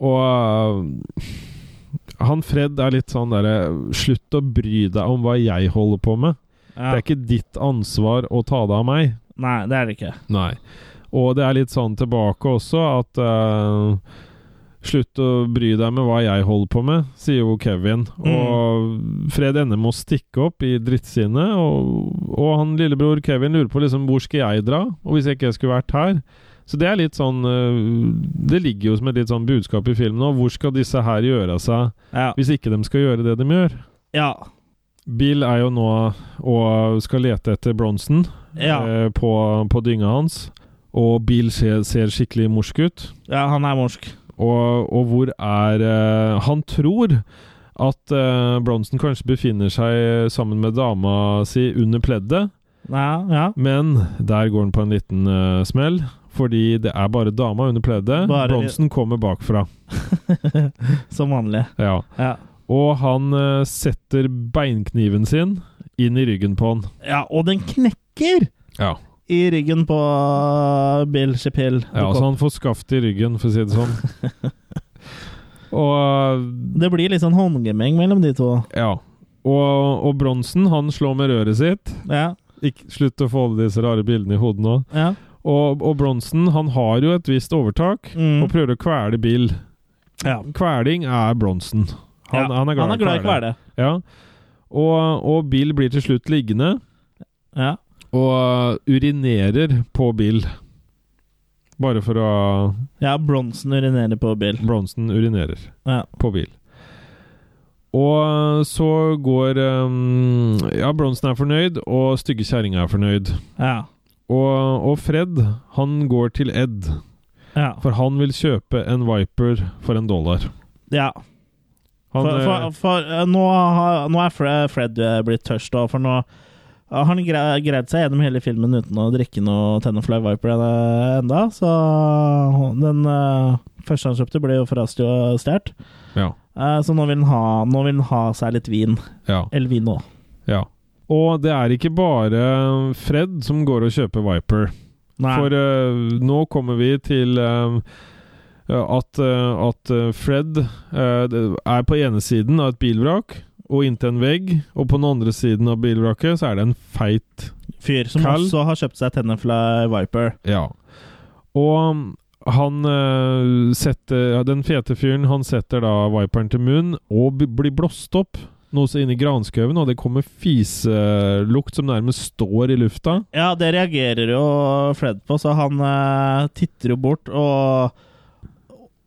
A: Og øh, han Fred er litt sånn derre Slutt å bry deg om hva jeg holder på med.
B: Ja.
A: Det er ikke ditt ansvar å ta det av meg.
B: Nei, det er det ikke.
A: Nei. Og det er litt sånn tilbake også at eh, Slutt å bry deg med hva jeg holder på med, sier jo Kevin. Og Fred ender med å stikke opp i drittsinnet, og, og han lillebror Kevin lurer på liksom hvor skal jeg dra, og hvis jeg ikke skulle vært her. Så det er litt sånn eh, Det ligger jo som et litt sånn budskap i filmen òg. Hvor skal disse her gjøre av seg
B: Ja.
A: hvis ikke de skal gjøre det de gjør?
B: ja.
A: Bill er jo nå og skal lete etter Bronson
B: Ja.
A: eh, på, på dynga hans. Og Bill ser, ser skikkelig morsk ut.
B: ja, han er morsk.
A: Og, og hvor er eh, Han tror at eh, Bronson kanskje befinner seg sammen med dama si under pleddet,
B: Ja, ja.
A: men der går han på en liten eh, smell. Fordi det er bare dama under pleddet.
B: Bare-
A: Bronson kommer bakfra.
B: Som vanlig.
A: Ja.
B: Ja.
A: Og han eh, setter beinkniven sin inn i ryggen på han.
B: ja, og den knekker
A: Ja.
B: i ryggen på øh, Bill Chappell.
A: Ja, altså han får skaft i ryggen, for å si det sånn. og
B: Det blir litt sånn håndgemeng mellom de to.
A: ja. Og, og Bronsen, han slår med røret sitt.
B: Ja,
A: Ikke, slutt å få alle disse rare bildene i hodet nå.
B: ja.
A: Og, og Bronsen, han har jo et visst overtak,
B: Mm.
A: og prøver å kvele Bill.
B: ja.
A: Kveling er Bronsen. Han,
B: ja.
A: han er glad,
B: i kvele.
A: Ja. Og, og Bill blir til slutt liggende
B: Ja.
A: og urinerer på Bill. Bare for å
B: Ja, Bronsen urinerer på bil.
A: Bronsen urinerer
B: Ja.
A: på bil. Og så går um, Ja, Bronsen er fornøyd, og stygge kjerringa er fornøyd.
B: Ja.
A: Og, og Fred, han går til Ed,
B: Ja.
A: for han vil kjøpe en Viper for en dollar.
B: ja.
A: Han,
B: for, for, for eh, nå, har, nå er Fre- Fred eh, blitt tørst, da, for nå eh, har han gre- greid seg gjennom hele filmen uten å drikke noe Tenafly Viper eh, enda, så den eh, første han kjøpte, ble jo forresten stjålet.
A: eh, ja,
B: Eh, Så nå vil, han ha, nå vil han ha seg litt vin.
A: ja,
B: Eller vin nå.
A: ja. Og det er ikke bare Fred som går og kjøper Viper.
B: Nei.
A: For eh, nå kommer vi til eh, at, eh, at eh, Fred eh, det er på ene siden av et bilvrak og inntil en vegg, og på den andre siden av bilvraket så er det en feit
B: Fyr som
A: Carl-
B: også har kjøpt seg Tenafly Viper.
A: Ja. Og mm, han eh, setter ja, Den fete fyren, han setter da viperen til munnen og b- blir blåst opp. Noe så inni granskauen, og det kommer fiselukt som nærmest står i lufta.
B: Ja, det reagerer jo Fred på, så han eh, titter jo bort og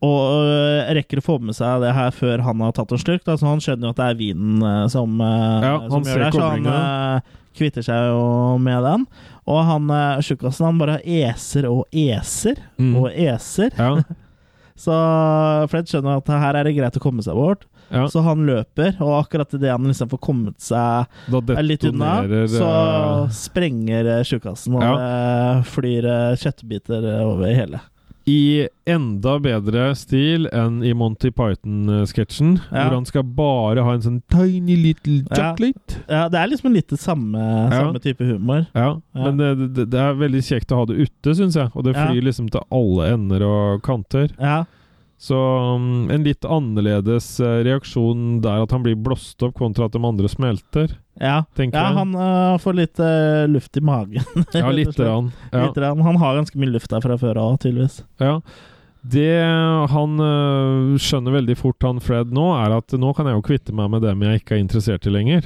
B: og eh, rekker å få med seg det her før han har tatt en slurk. Da. Så han skjønner jo at det er vinen eh, som, eh,
A: Ja, han
B: som
A: ser
B: gjør det, her, så han
A: koblingen.
B: eh, kvitter seg jo med den. Og han eh, tjukkasen, han bare eser og eser
A: Mm.
B: og eser.
A: Ja,
B: Så Fred skjønner at her er det greit å komme seg bort.
A: ja.
B: Så han løper, og akkurat idet han liksom får kommet seg
A: Da
B: er litt unna,
A: detonerer
B: så
A: eh,
B: sprenger eh, tjukkasen, og
A: Ja.
B: det flyr eh, kjøttbiter eh, over hele.
A: I enda bedre stil enn i Monty Python-sketsjen,
B: Ja.
A: hvor han skal bare ha en sånn tiny little
B: Ja.
A: chocolate.
B: Ja, det er liksom litt det samme,
A: Ja.
B: samme type humor.
A: Ja,
B: Ja.
A: men det, det, det er veldig kjekt å ha det ute, syns jeg. Og det
B: Ja.
A: flyr liksom til alle ender og kanter.
B: Ja,
A: Så um, en litt annerledes eh, reaksjon der at han blir blåst opp, kontra at de andre smelter,
B: ja.
A: tenker
B: ja han eh, får litt eh, luft i magen.
A: jeg. Ja,
B: rett og
A: lite
B: slett.
A: grann. Ja.
B: Litt grann. han har ganske mye luft der fra før av, tydeligvis.
A: Ja. Det han øh, skjønner veldig fort, han Fred, nå, er at nå kan jeg jo kvitte meg med dem jeg ikke er interessert i lenger.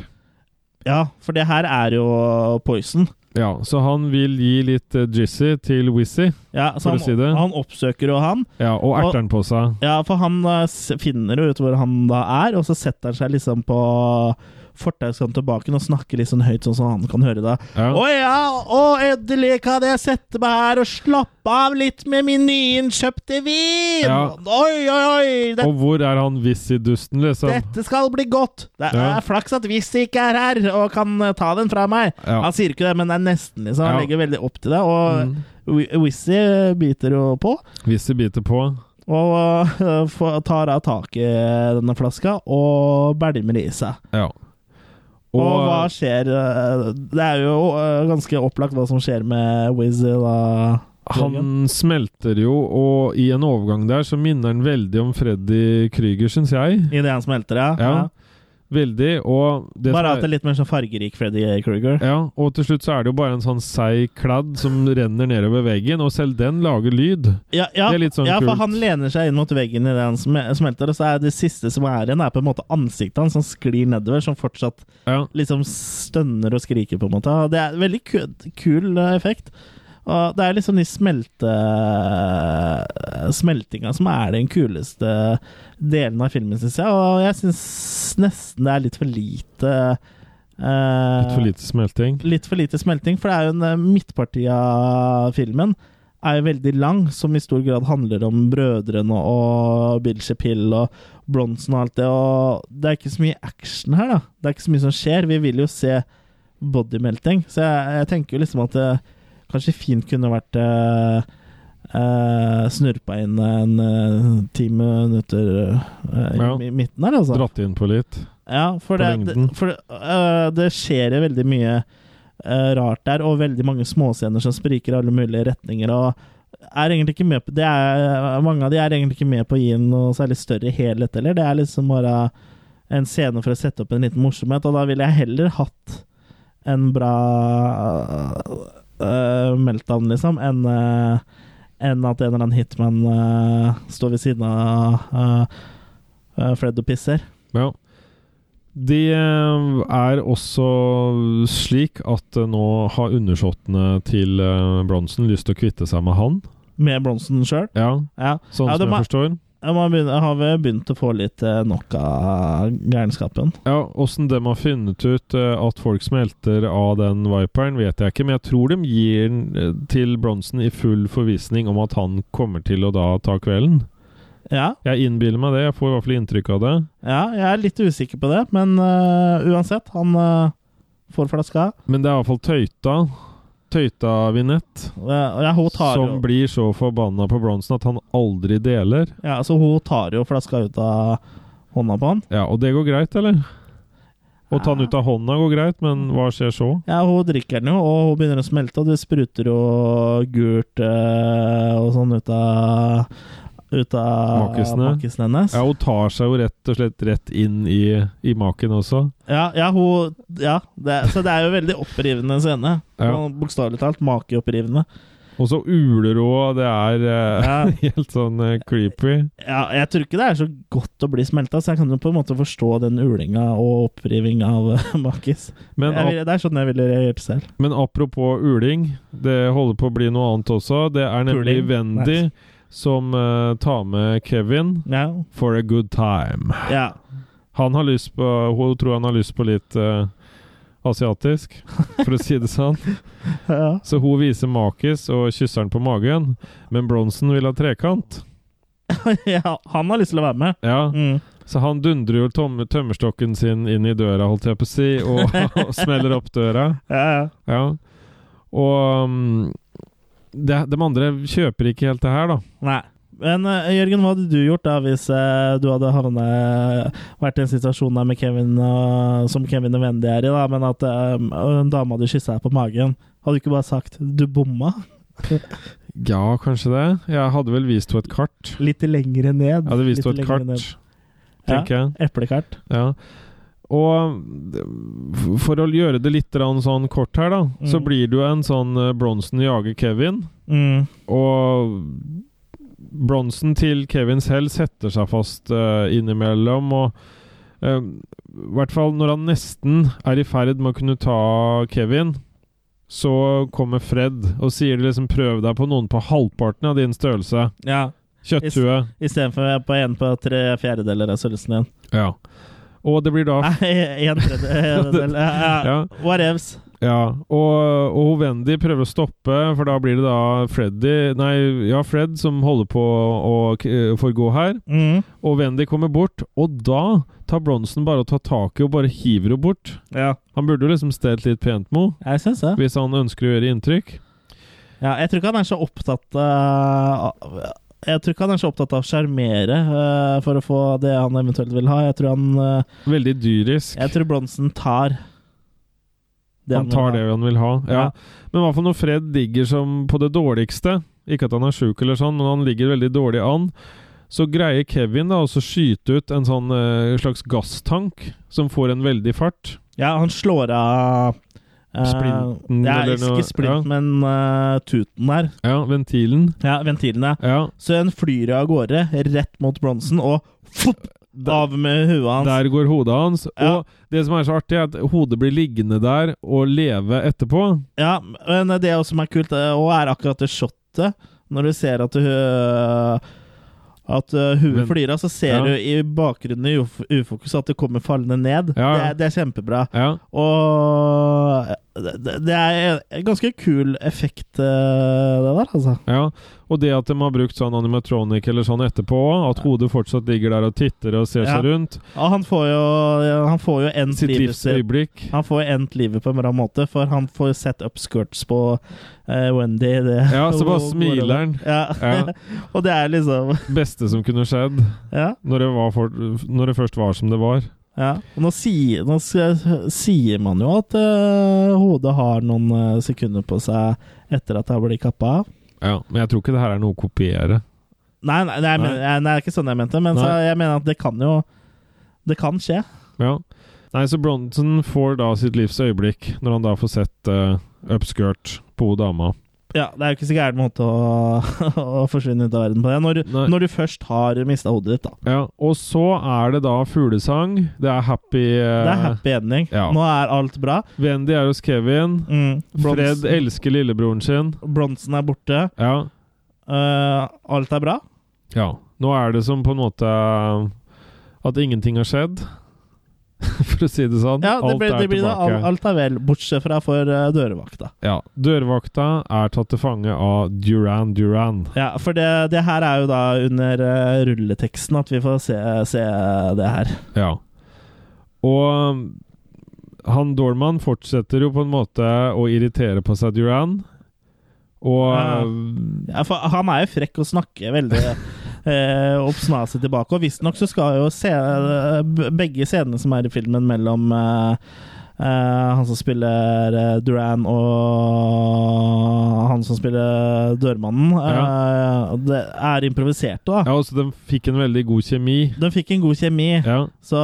B: Ja, for det her er jo poison.
A: Ja, Så han vil gi litt øh, jizzy til Wizzy,
B: Ja,
A: For
B: så
A: å
B: han,
A: si det.
B: han oppsøker jo han.
A: ja, og
B: Og-
A: erter han på seg.
B: Ja, for han eh, s- finner jo ut hvor han da er, og så setter han seg liksom på fortauskanten tilbake og snakker litt sånn høyt, sånn som han kan høre det.
A: Ja.
B: Å ja, å endelig kan jeg sette meg her og slappe av litt med min nyinnkjøpte vin!
A: Ja.
B: Oi, oi, oi! Det,
A: Og hvor er han Wizzy-dusten, liksom?
B: dette skal bli godt! Det er,
A: Ja.
B: er flaks at Wizzy ikke er her og kan eh, ta den fra meg.
A: Ja.
B: Han sier ikke det, men det er nesten, liksom.
A: Ja.
B: Han
A: Mm.
B: legger veldig opp til det, og Wi- Wizzy biter jo på.
A: Wizzy biter på.
B: Og eh, får- tar av tak i denne flaska og bælmer i seg.
A: Ja.
B: Og, hva skjer eh, Det er jo eh, ganske opplagt hva som skjer med Wizzy da.
A: eh, Han smelter jo, og i en overgang der så minner han veldig om Freddy Krüger, syns jeg.
B: Idet han smelter, ja.
A: Ja. Veldig. Og det som
B: Bare at
A: er-
B: det er litt mer sånn fargerik Freddy Kruger.
A: Ja, og til slutt så er det jo bare en sånn seig kladd som renner nedover veggen, og selv den lager lyd.
B: Ja, ja,
A: Det er litt sånn
B: ja for
A: kult.
B: han lener seg inn mot veggen idet han sm- smelter, og så er det siste som er igjen, er på en måte ansiktet hans som sklir nedover, som fortsatt
A: Ja,
B: liksom stønner og skriker, på en måte. Det er veldig ku kul eh, effekt. Og det er liksom de smelte... eh, smeltinga som er den kuleste delen av filmen, syns jeg. Og jeg syns nesten det er litt for lite eh,
A: Litt for lite smelting.
B: litt for lite smelting, for det er jo en eh, midtparti av filmen er jo veldig lang, som i stor grad handler om brødrene og Bill Chappell og Bronson og alt det, og det er ikke så mye action her, da. Det er ikke så mye som skjer. Vi vil jo se bodymelting, så jeg, jeg tenker jo liksom at det kanskje fint kunne vært eh, eh, snurpa inn en eh, ti minutter eh, i
A: Ja.
B: mi- midten her, altså.
A: Dratt inn på litt.
B: Ja, for,
A: På
B: det,
A: lengden.
B: det, for det, øh, det skjer jo veldig mye øh, rart der, og veldig mange småscener som spriker i alle mulige retninger. og er egentlig ikke med på, det er, Mange av de er egentlig ikke med på å gi noe særlig større helhet heller. Det er liksom bare en scene for å sette opp en liten morsomhet, og da ville jeg heller hatt en bra øh, meltdown, liksom, enn øh, enn at en eller annen hitman øh, står ved siden av øh, øh, Fred og pisser.
A: Ja. Det er også slik at eh, nå har undersåttene til eh, Bronsen lyst til å kvitte seg med han.
B: Med Bronsen sjøl?
A: Ja,
B: Ja.
A: sånn
B: ja,
A: som
B: de,
A: jeg
B: har-
A: forstår.
B: de har begynt, har vel begynt å få litt eh, nok av gærenskapen.
A: Ja, Åssen de har funnet ut eh, at folk smelter av den viperen, vet jeg ikke, men jeg tror de gir den eh, til Bronsen i full forvissning om at han kommer til å da ta kvelden.
B: Ja,
A: Jeg innbiller meg det, jeg får i hvert fall inntrykk av det.
B: ja, jeg er litt usikker på det, men eh, uansett, han eh, får flaska.
A: Men det er i hvert fall Tøyta. Tøyta Vinett,
B: Og jeg- og ja, hun tar
A: som
B: jo,
A: blir så forbanna på Bronsen at han aldri deler.
B: ja, så hun tar jo flaska ut av hånda på han.
A: Ja, Og det går greit, eller? Å ta den ut av hånda går greit, men hva skjer så?
B: Ja, hun drikker den jo, og hun begynner å smelte, og det spruter jo gult eh, og sånn ut av ut av
A: Makisene.
B: makisen hennes.
A: Ja, Hun tar seg jo rett og slett rett inn i, i maken også.
B: Ja, ja, hun, ja det, så det er jo veldig opprivende scene.
A: Ja.
B: Sånn Bokstavelig talt makeopprivende.
A: Og så uler hun, og det er eh,
B: Ja,
A: helt sånn eh, creepy.
B: ja, jeg tror ikke det er så godt å bli smelta, så jeg kan jo på en måte forstå den ulinga og oppriving av eh, makis.
A: Men,
B: Jeg
A: ap
B: ville- det er sånn jeg ville reagert selv.
A: men apropos uling, det holder på å bli noe annet også. Det er nemlig
B: Puling.
A: Wendy
B: Nice.
A: som eh, tar med Kevin
B: Ja.
A: for a good time.
B: ja.
A: Han har lyst på Hun tror han har lyst på litt eh, asiatisk, for å si det sånn.
B: ja.
A: Så hun viser makis og kysser han på magen, men Bronson vil ha trekant.
B: ja han har lyst til å være med.
A: Ja,
B: Mm.
A: Så han dundrer jo tomme, tømmerstokken sin inn i døra, holdt jeg på å si, og, og smeller opp døra.
B: Ja, ja.
A: Ja. Og um, det, de andre kjøper ikke helt det her, da.
B: Nei. Men eh, Jørgen, hva hadde du gjort da hvis eh, du hadde havnet, vært i en situasjon der med Kevin eh, som Kevin nødvendig er i, da, men at eh, en dame hadde kyssa deg på magen? Hadde du ikke bare sagt 'du bomma'?
A: Ja, kanskje det. Jeg hadde vel vist henne et kart.
B: Litt lengre ned.
A: Jeg hadde vist
B: litt
A: henne et
B: lengre
A: kart,
B: ned.
A: tenker jeg.
B: Ja, eplekart.
A: Ja. Og d- for å gjøre det litt grann sånn kort her, da, så
B: Mm.
A: blir det jo en sånn eh, Bronson jager Kevin,
B: Mm.
A: og Bronson til Kevin selv setter seg fast eh, innimellom, og eh, i hvert fall når han nesten er i ferd med å kunne ta Kevin, så kommer Fred og sier liksom 'prøv deg på noen på halvparten av din størrelse'.
B: Ja.
A: Kjøtthue.
B: Istedenfor eh, på en på tre fjerdedeler av størrelsen din.
A: Ja. Og det blir da
B: Nei, en tredjedel. Ja, ja.
A: Ja.
B: Whatevs.
A: Ja, og, og Wendy prøver å stoppe, for da blir det da Freddy Nei, ja, Fred som holder på å k- forgå her.
B: Mm.
A: Og Wendy kommer bort, og da tar Bronson bare og tar tak i og bare hiver henne bort.
B: Ja.
A: Han burde jo liksom stelt litt pent med henne,
B: Jeg syns det.
A: hvis han ønsker å gjøre inntrykk.
B: Ja, jeg tror ikke han er så opptatt eh, av Jeg tror ikke han er så opptatt av å sjarmere eh, for å få det han eventuelt vil ha. Jeg tror han eh,
A: Veldig dyrisk.
B: Jeg tror Bronsen tar det
A: Han tar det
B: vil ha.
A: han vil ha. Ja.
B: Ja.
A: Men i hvert fall når Fred ligger som på det dårligste Ikke at han er sjuk, eller sånn, men han ligger veldig dårlig an. Så greier Kevin da også skyte ut en sånn eh, slags gasstank som får en veldig fart.
B: Ja, han slår av eh,
A: Splinten
B: ja,
A: eller noe-
B: Ikke splint, men eh, tuten der.
A: Ja, ventilen.
B: Ja, ventilene.
A: Ja,
B: Så en flyr av gårde rett mot Bronsen og fopp, av med huet hans.
A: der går hodet hans.
B: Ja.
A: Og det som er så artig, er at hodet blir liggende der og leve etterpå.
B: Ja, men det også som er kult, eh, og er akkurat det shotet Når du ser at hu- At eh, huet
A: Men-
B: flyr av, så ser
A: Ja.
B: du i bakgrunnen i uf- ufokus at det kommer fallende ned.
A: Ja,
B: Det,
A: ja.
B: er, det er kjempebra.
A: Ja,
B: Og øh, det, det er en ganske kul effekt, eh, det der, altså.
A: ja. Og det at de har brukt sånn animatronic eller sånn etterpå også, at hodet fortsatt ligger der og titter og ser
B: Ja.
A: seg rundt.
B: Og han får jo, han får jo endt
A: Sitt
B: livet
A: livs
B: sitt.
A: øyeblikk.
B: Han får endt livet på en bra måte, for han får sett upskirts på eh, Wendy. Det,
A: Ja, så bare
B: og-
A: smiler han.
B: Ja.
A: Ja.
B: og det er liksom
A: Beste som kunne skjedd,
B: Ja.
A: når det, var for, når det først var som det var.
B: Ja, og nå sier, nå s- sier man jo at eh, hodet har noen eh, sekunder på seg etter at det blir kappa av.
A: Ja, Men jeg tror ikke det her er noe å kopiere.
B: Nei, nei, nei, men- nei, det er ikke sånn jeg mente, men så,
A: Nei.
B: jeg mener at det kan jo Det kan skje.
A: Ja. Nei, så Bronson får da sitt livs øyeblikk, når han da får sett eh, upskirt på dama.
B: Ja, Det er jo ikke så gæren måte å, å forsvinne ut av verden på det, når, du-
A: Nei.
B: når du først har mista hodet ditt, da.
A: Ja, og så er det da fuglesang. Det er happy, eh,
B: Det er happy ending.
A: ja.
B: Nå er alt bra.
A: Wendy er hos Kevin.
B: Mm.
A: Fred elsker lillebroren sin.
B: Bronsen er borte.
A: Ja.
B: Eh, alt er bra.
A: Ja. Nå er det som på en måte at ingenting har skjedd, for å si det sånn.
B: Ja, det
A: alt
B: blir,
A: er
B: det blir det.
A: tilbake.
B: Al- Alt er vel, bortsett fra for eh, dørvakta.
A: Ja. Dørvakta er tatt til fange av Duran Duran.
B: Ja, for det, det her er jo da under eh, rulleteksten at vi får se, se det her.
A: Ja. Og um, han Dorman fortsetter jo på en måte å irritere på seg Duran. Og
B: Ja.
A: um,
B: Ja, for han er jo frekk og snakker veldig eh, oppsnasig tilbake. Og visstnok så skal jo se, b- begge scenene som er i filmen mellom eh, eh, han som spiller eh, Duran og han som spiller dørmannen, eh, det er improviserte. da.
A: Ja, også de fikk en veldig god kjemi.
B: De fikk en god kjemi.
A: Ja.
B: Så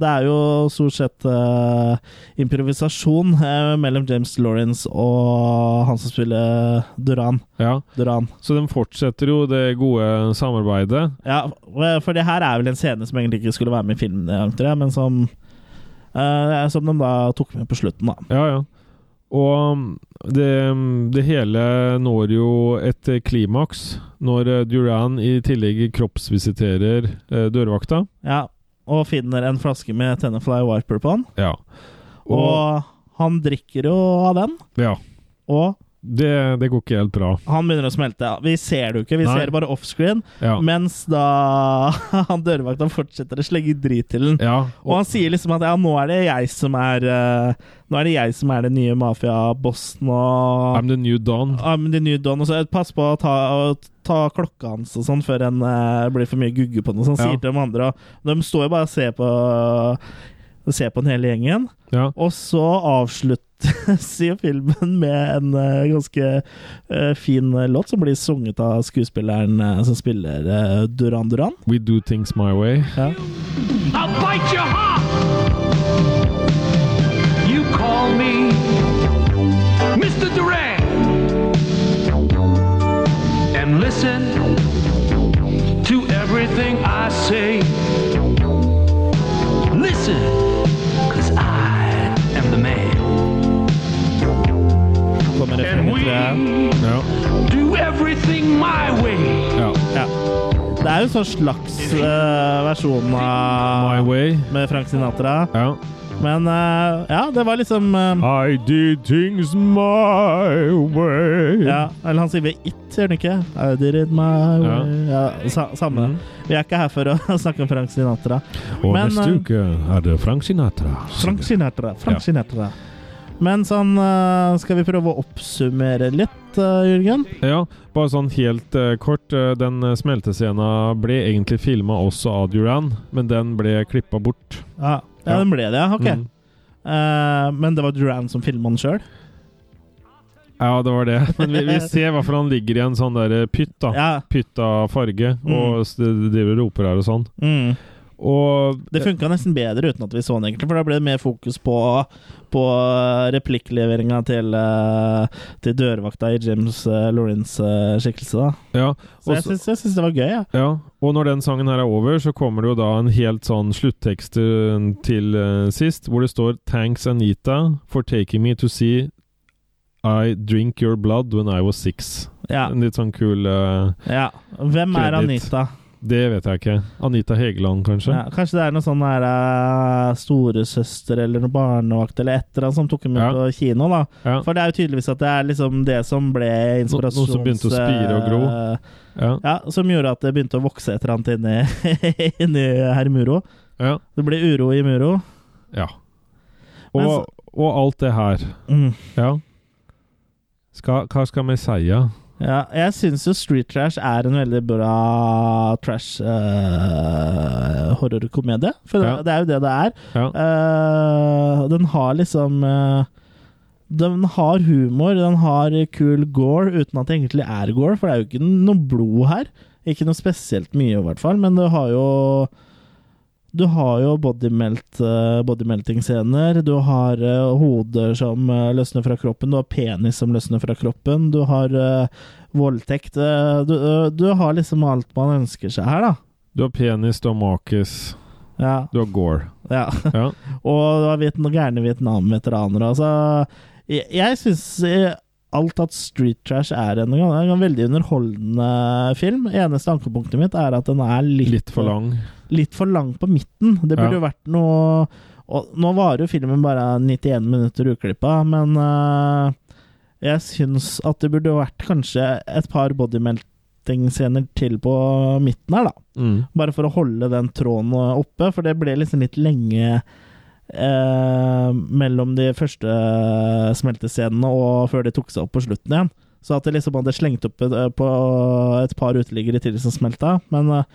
B: det er jo stort sett eh, improvisasjon eh, mellom James Lawrence og han som spiller Duran.
A: ja.
B: Duran.
A: Så de fortsetter jo det gode samarbeidet.
B: Ja, og- for det her er vel en scene som egentlig ikke skulle være med i filmen, jeg tror jeg, men som eh, Som de da tok med på slutten, da.
A: Ja, ja. Og um, det, um, det hele når jo et eh, klimaks når eh, Duran i tillegg kroppsvisiterer eh, dørvakta.
B: Ja, Og finner en flaske med Tennerfly Wiper på han.
A: Ja.
B: Og, han drikker jo av den,
A: Ja.
B: og
A: Det, det går ikke helt bra.
B: han begynner å smelte. Ja, Vi ser det jo ikke, vi
A: Nei.
B: ser det bare offscreen.
A: Ja.
B: Mens da han dørvakta fortsetter å slenge drit til den.
A: ja.
B: Og han sier liksom at ja, nå er det jeg som er eh, Nå er det jeg som er den nye mafiabossen og
A: I'm the new Don.
B: I'm the new Don. Og så pass på å ta, å ta klokka hans og sånn før en eh, blir for mye gugge på den. og Sånn,
A: Ja.
B: Sier til de andre. Og de står jo bare og ser på Ser på den hele gjengen.
A: Ja.
B: Og så avsluttes jo filmen med en eh, ganske eh, fin låt som blir sunget av skuespilleren eh, som spiller eh, Duran Duran.
A: We do things my way.
B: Ja.
G: I'll bite your heart. You call me Mr. Duran. And listen to everything I say. Listen, cause I am the man.
B: Kommer
G: And
B: refrenget, tror jeg.
G: we
A: Ja.
G: do everything my way.
A: ja.
B: Ja. Det er jo en sånn slags eh, versjon
A: My
B: av
A: way.
B: med Frank Sinatra.
A: Ja.
B: Men eh, ja, det var liksom eh,
A: I did things my way.
B: ja, Eller han sier ved it, gjør han ikke? I did it my way. Ja, sa, samme.
A: Mm.
B: Vi er ikke her for å snakke om Frank Sinatra.
A: Og
B: Men,
A: neste
B: eh,
A: uke er det Frank Sinatra.
B: Frank Sinatra, Frank
A: Ja.
B: Sinatra. Men sånn eh, Skal vi prøve å oppsummere litt, eh, Jørgen?
A: Ja, bare sånn helt eh, kort. eh, den eh, smeltescena ble egentlig filma også av Duran, men den ble klippa bort.
B: Ja, ja
A: Ja.
B: den ble det, ja. Ok.
A: Mm.
B: Eh, men det var Duran som filma den sjøl?
A: Ja, det var det. Men vi, vi ser hvorfor han ligger i en sånn der eh, pytt, da.
B: Ja.
A: Pytt av farge, og s- driver og roper her og sånn.
B: Mm.
A: Og
B: Det funka nesten bedre uten at vi så den, egentlig, for da ble det mer fokus på, på replikkleveringa til, eh, til dørvakta i James eh, Lawrence' eh, skikkelse. da.
A: ja,
B: Så
A: og
B: jeg syns, jeg syns det var gøy. Ja.
A: Ja, og når den sangen her er over, så kommer det jo da en helt sånn sluttekst eh, til eh, sist, hvor det står Thanks Anita for taking me to see I drink your blood when I was six.
B: Ja,
A: En litt sånn kul eh,
B: ja. Hvem er
A: Kredit.
B: Anita?
A: Det vet jeg ikke. Anita Hegeland, kanskje?
B: Ja, kanskje det er noe sånn der eh, storesøster eller noe barnevakt eller et eller annet som tok henne med
A: Ja.
B: på kino, da.
A: Ja.
B: For det er jo tydeligvis at det er liksom det som ble
A: noe
B: inspirasjons...
A: som begynte å spire og gro.
B: eh,
A: Ja.
B: Ja, som gjorde at det begynte å vokse et eller annet inni, inni herr Muro.
A: ja.
B: Det ble uro i Muro.
A: ja.
B: Men
A: Og,
B: så-
A: og alt det her.
B: Mm.
A: Ja. Ska, hva skal vi si?
B: Ja, jeg syns jo Street Trash er en veldig bra trash eh, horrorkomedie. For
A: Ja.
B: det, det er jo det det er.
A: Ja.
B: Eh, den har liksom eh, Den har humor, den har kul gore, uten at det egentlig er gore, for det er jo ikke noe blod her. Ikke noe spesielt mye, i hvert fall, men du har jo du har jo bodymelt, eh, bodymelting-scener, du har eh, hoder som eh, løsner fra kroppen, du har penis som løsner fra kroppen, du har eh, voldtekt eh, du, eh, du har liksom alt man ønsker seg her, da.
A: Du har penis, du har makis,
B: Ja.
A: du har gore.
B: ja.
A: Ja.
B: Og du har Vietnam, gærne Vietnam-veteraner. Altså, jeg, jeg syns alt at Street Trash er en, en veldig underholdende film. Eneste ankepunktet mitt er at den er litt,
A: Litt for lang.
B: litt for lang på midten. Det burde
A: Ja.
B: jo vært noe og Nå varer jo filmen bare 91 minutter uklippa, men eh, jeg syns at det burde vært kanskje et par bodymelting-scener til på midten her, da.
A: Mm.
B: Bare for å holde den tråden oppe, for det ble liksom litt lenge eh, mellom de første eh, smeltescenene og før de tok seg opp på slutten igjen. Så at det liksom hadde slengt opp et, på et par uteliggere til som smelta. Men eh,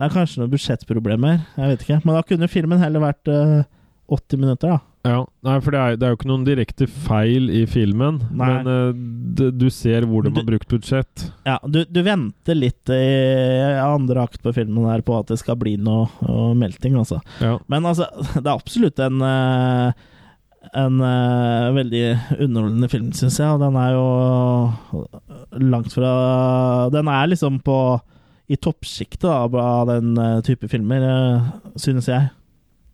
B: det er kanskje noen budsjettproblemer. Jeg vet ikke. Men da kunne filmen heller vært eh, 80 minutter, da.
A: Ja, nei, for det er, det er jo ikke noen direkte feil i filmen,
B: Nei.
A: men eh, d- du ser hvor de
B: Men
A: har brukt budsjett.
B: Ja, du, du venter litt i andre akt på filmen her på at det skal bli noe noe melting, altså.
A: Ja.
B: Men altså, det er absolutt en eh, en eh, veldig underholdende film, syns jeg. Og den er jo langt fra Den er liksom på i toppsjiktet av av den eh, type filmer, eh, synes jeg.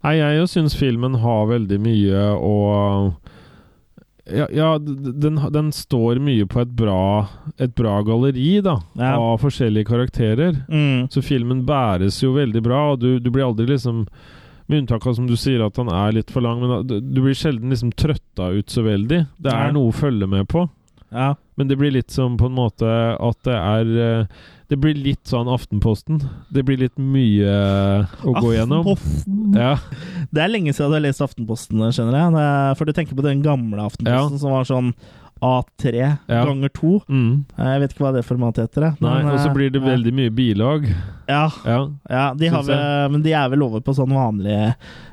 A: Nei, jeg jo syns filmen har veldig mye å Ja, ja d- d- den, ha- den står mye på et bra, et bra galleri, da,
B: Ja.
A: av forskjellige karakterer. Så filmen bæres jo veldig bra, og du, du blir aldri liksom Med unntak av som du sier at han er litt for lang, men da- du, du blir sjelden liksom trøtta ut så veldig. Det
B: Nei.
A: er noe å følge med på.
B: Ja.
A: Men det blir litt som på en måte at det er eh, Det blir litt sånn Aftenposten. Det blir litt mye eh, å gå gjennom.
B: Aftenposten.
A: Ja,
B: Det er lenge siden du har lest Aftenposten, skjønner jeg. Det er- For du tenker på den gamle Aftenposten som var sånn A3
A: Ja.
B: ganger 2.
A: mm.
B: Jeg vet ikke hva det formatet heter. jeg.
A: Nei, og
B: Men,
A: så
B: eh,
A: blir det veldig mye bilag.
B: Ja,
A: Ja.
B: ja de har
A: Syns jeg.
B: vel, men de er vel over på sånn vanlig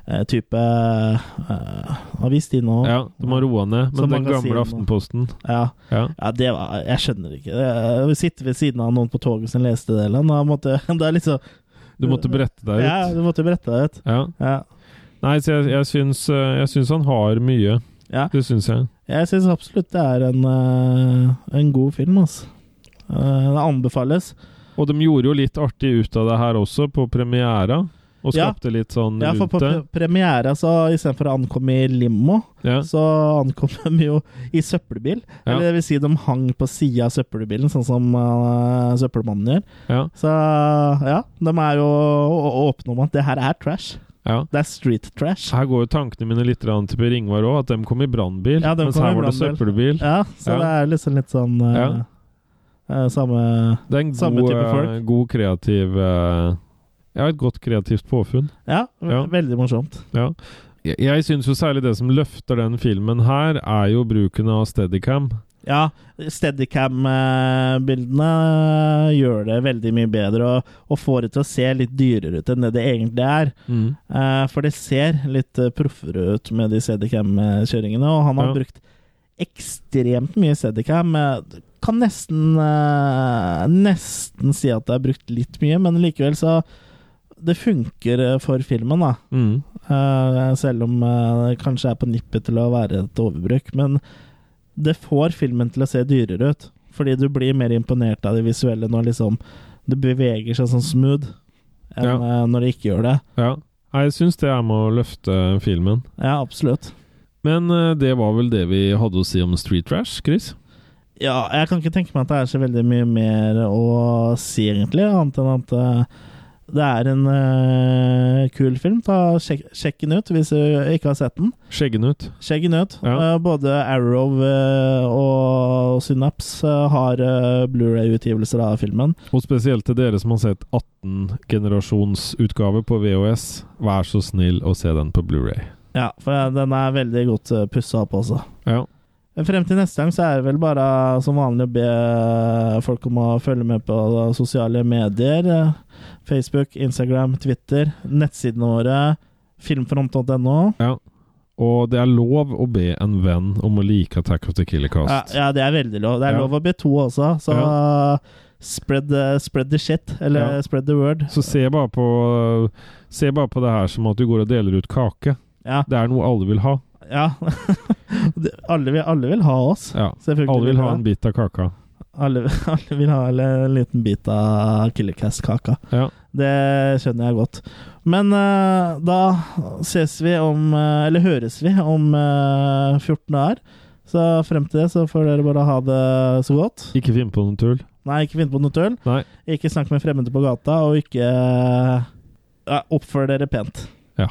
B: eh, type eh, avis, de nå.
A: ja de har roa ned.
B: Som
A: Men den
B: magasin,
A: gamle
B: da.
A: Aftenposten
B: Ja.
A: ja.
B: Ja, det var Jeg skjønner ikke. Eh, Å sitte ved siden av noen på toget som leste det, eller noe, da måtte, det er litt så
A: Du måtte brette deg
B: Ja,
A: ut.
B: du måtte brette deg ut.
A: Ja.
B: Ja.
A: Nei, så jeg, jeg, syns, eh, jeg syns han har mye.
B: Ja.
A: Det syns jeg.
B: Jeg syns absolutt det er en, eh, en god film, altså. Eh, det anbefales.
A: Og de gjorde jo litt artig ut av det her også, på premiera. Og
B: Ja.
A: skapte litt sånn
B: Ja, for
A: rundt
B: på
A: det.
B: pre premiere, så istedenfor å ankomme i limo,
A: Ja.
B: så ankom de jo i søppelbil.
A: Ja.
B: Eller det vil si, de hang på sida av søppelbilen, sånn som eh, søppelmannen gjør.
A: Ja.
B: Så ja, de er jo å- å- åpne om at det her er trash.
A: ja.
B: Det er street trash.
A: Her går jo tankene mine litt grann til Per Ingvar òg, at de kom i brannbil.
B: Ja, de
A: mens
B: kom i
A: her var det
B: brannbil.
A: søppelbil.
B: Ja, så
A: Ja.
B: det er liksom litt sånn eh,
A: Ja.
B: eh, samme
A: Det er en
B: Samme
A: god,
B: type folk.
A: eh, god kreativ eh, Ja, et godt kreativt påfunn.
B: Ja,
A: Ja.
B: veldig morsomt.
A: Ja. Jeg, jeg syns jo særlig det som løfter den filmen her, er jo bruken av Steadicam.
B: Ja, Steadicam-bildene gjør det veldig mye bedre og, og får det til å se litt dyrere ut enn det det egentlig er. Eh, For det ser litt eh, proffere ut med de Steadicam-kjøringene, og han har
A: Ja.
B: brukt ekstremt mye Steadicam. Eh, Kan nesten eh, nesten si at det er brukt litt mye, men likevel så Det funker eh, for filmen, da.
A: Mm.
B: Eh, selv om eh, det kanskje er på nippet til å være et overbruk. Men det får filmen til å se dyrere ut, fordi du blir mer imponert av det visuelle når liksom det beveger seg sånn smooth, enn
A: Ja.
B: eh, når det ikke gjør det.
A: Ja. Nei, Jeg syns det er med å løfte filmen.
B: Ja, absolutt.
A: Men eh, det var vel det vi hadde å si om Street Trash, Chris?
B: Ja, jeg kan ikke tenke meg at det er så veldig mye mer å si, egentlig, annet enn at eh, det er en eh, kul film. Ta sjekk, sjekk den ut hvis du ikke har sett den.
A: Skjeggen ut.
B: Skjeggen ut.
A: Ja.
B: Eh, både Arrow eh, og Synapse eh, har eh, Blu-ray-utgivelser av filmen.
A: Og spesielt til dere som har sett 18-generasjonsutgave på VHS, vær så snill å se den på Blu-ray.
B: Ja, for den er veldig godt uh, pussa opp også.
A: Ja.
B: Men Frem til neste gang så er det vel bare eh, som vanlig å be eh, folk om å følge med på eh, sosiale medier. eh, Facebook, Instagram, Twitter, nettsidene våre, filmfront.no.
A: Ja. Og det er lov å be en venn om å like Attack of the Killer
B: Ja,
A: Cast.
B: ja, det er veldig lov. Det er
A: Ja.
B: lov å be to også, så eh, spread, the- spread the shit, eller
A: Ja.
B: spread the word.
A: Så se bare, på, se bare på det her som at du går og deler ut kake.
B: Ja.
A: Det er noe alle vil ha.
B: Ja. Det- alle, vil, alle vil ha oss.
A: Ja.
B: Selvfølgelig
A: Alle vil ha
B: det.
A: en bit av kaka.
B: alle, alle vil ha en liten bit av Killercast-kaka.
A: Ja.
B: Det skjønner jeg godt. Men eh, da ses vi om eh, Eller høres vi om eh, 14 dager. Så frem til det så får dere bare ha det så godt.
A: Ikke finn på noe tull.
B: Nei, ikke finn på noe tull.
A: Nei.
B: Ikke snakk med fremmede på gata, og ikke eh, ja, oppfør dere pent.
A: Ja.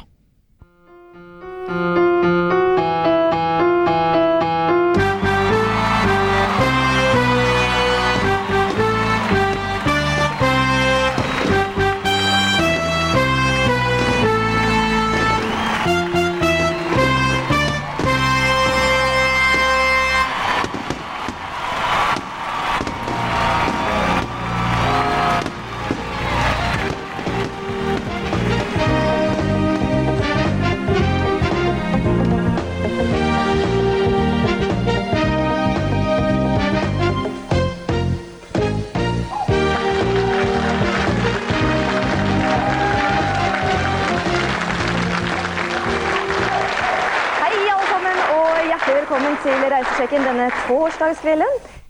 H: Hei alle sammen, og hjertelig velkommen til Reisesjekken denne torsdagskvelden.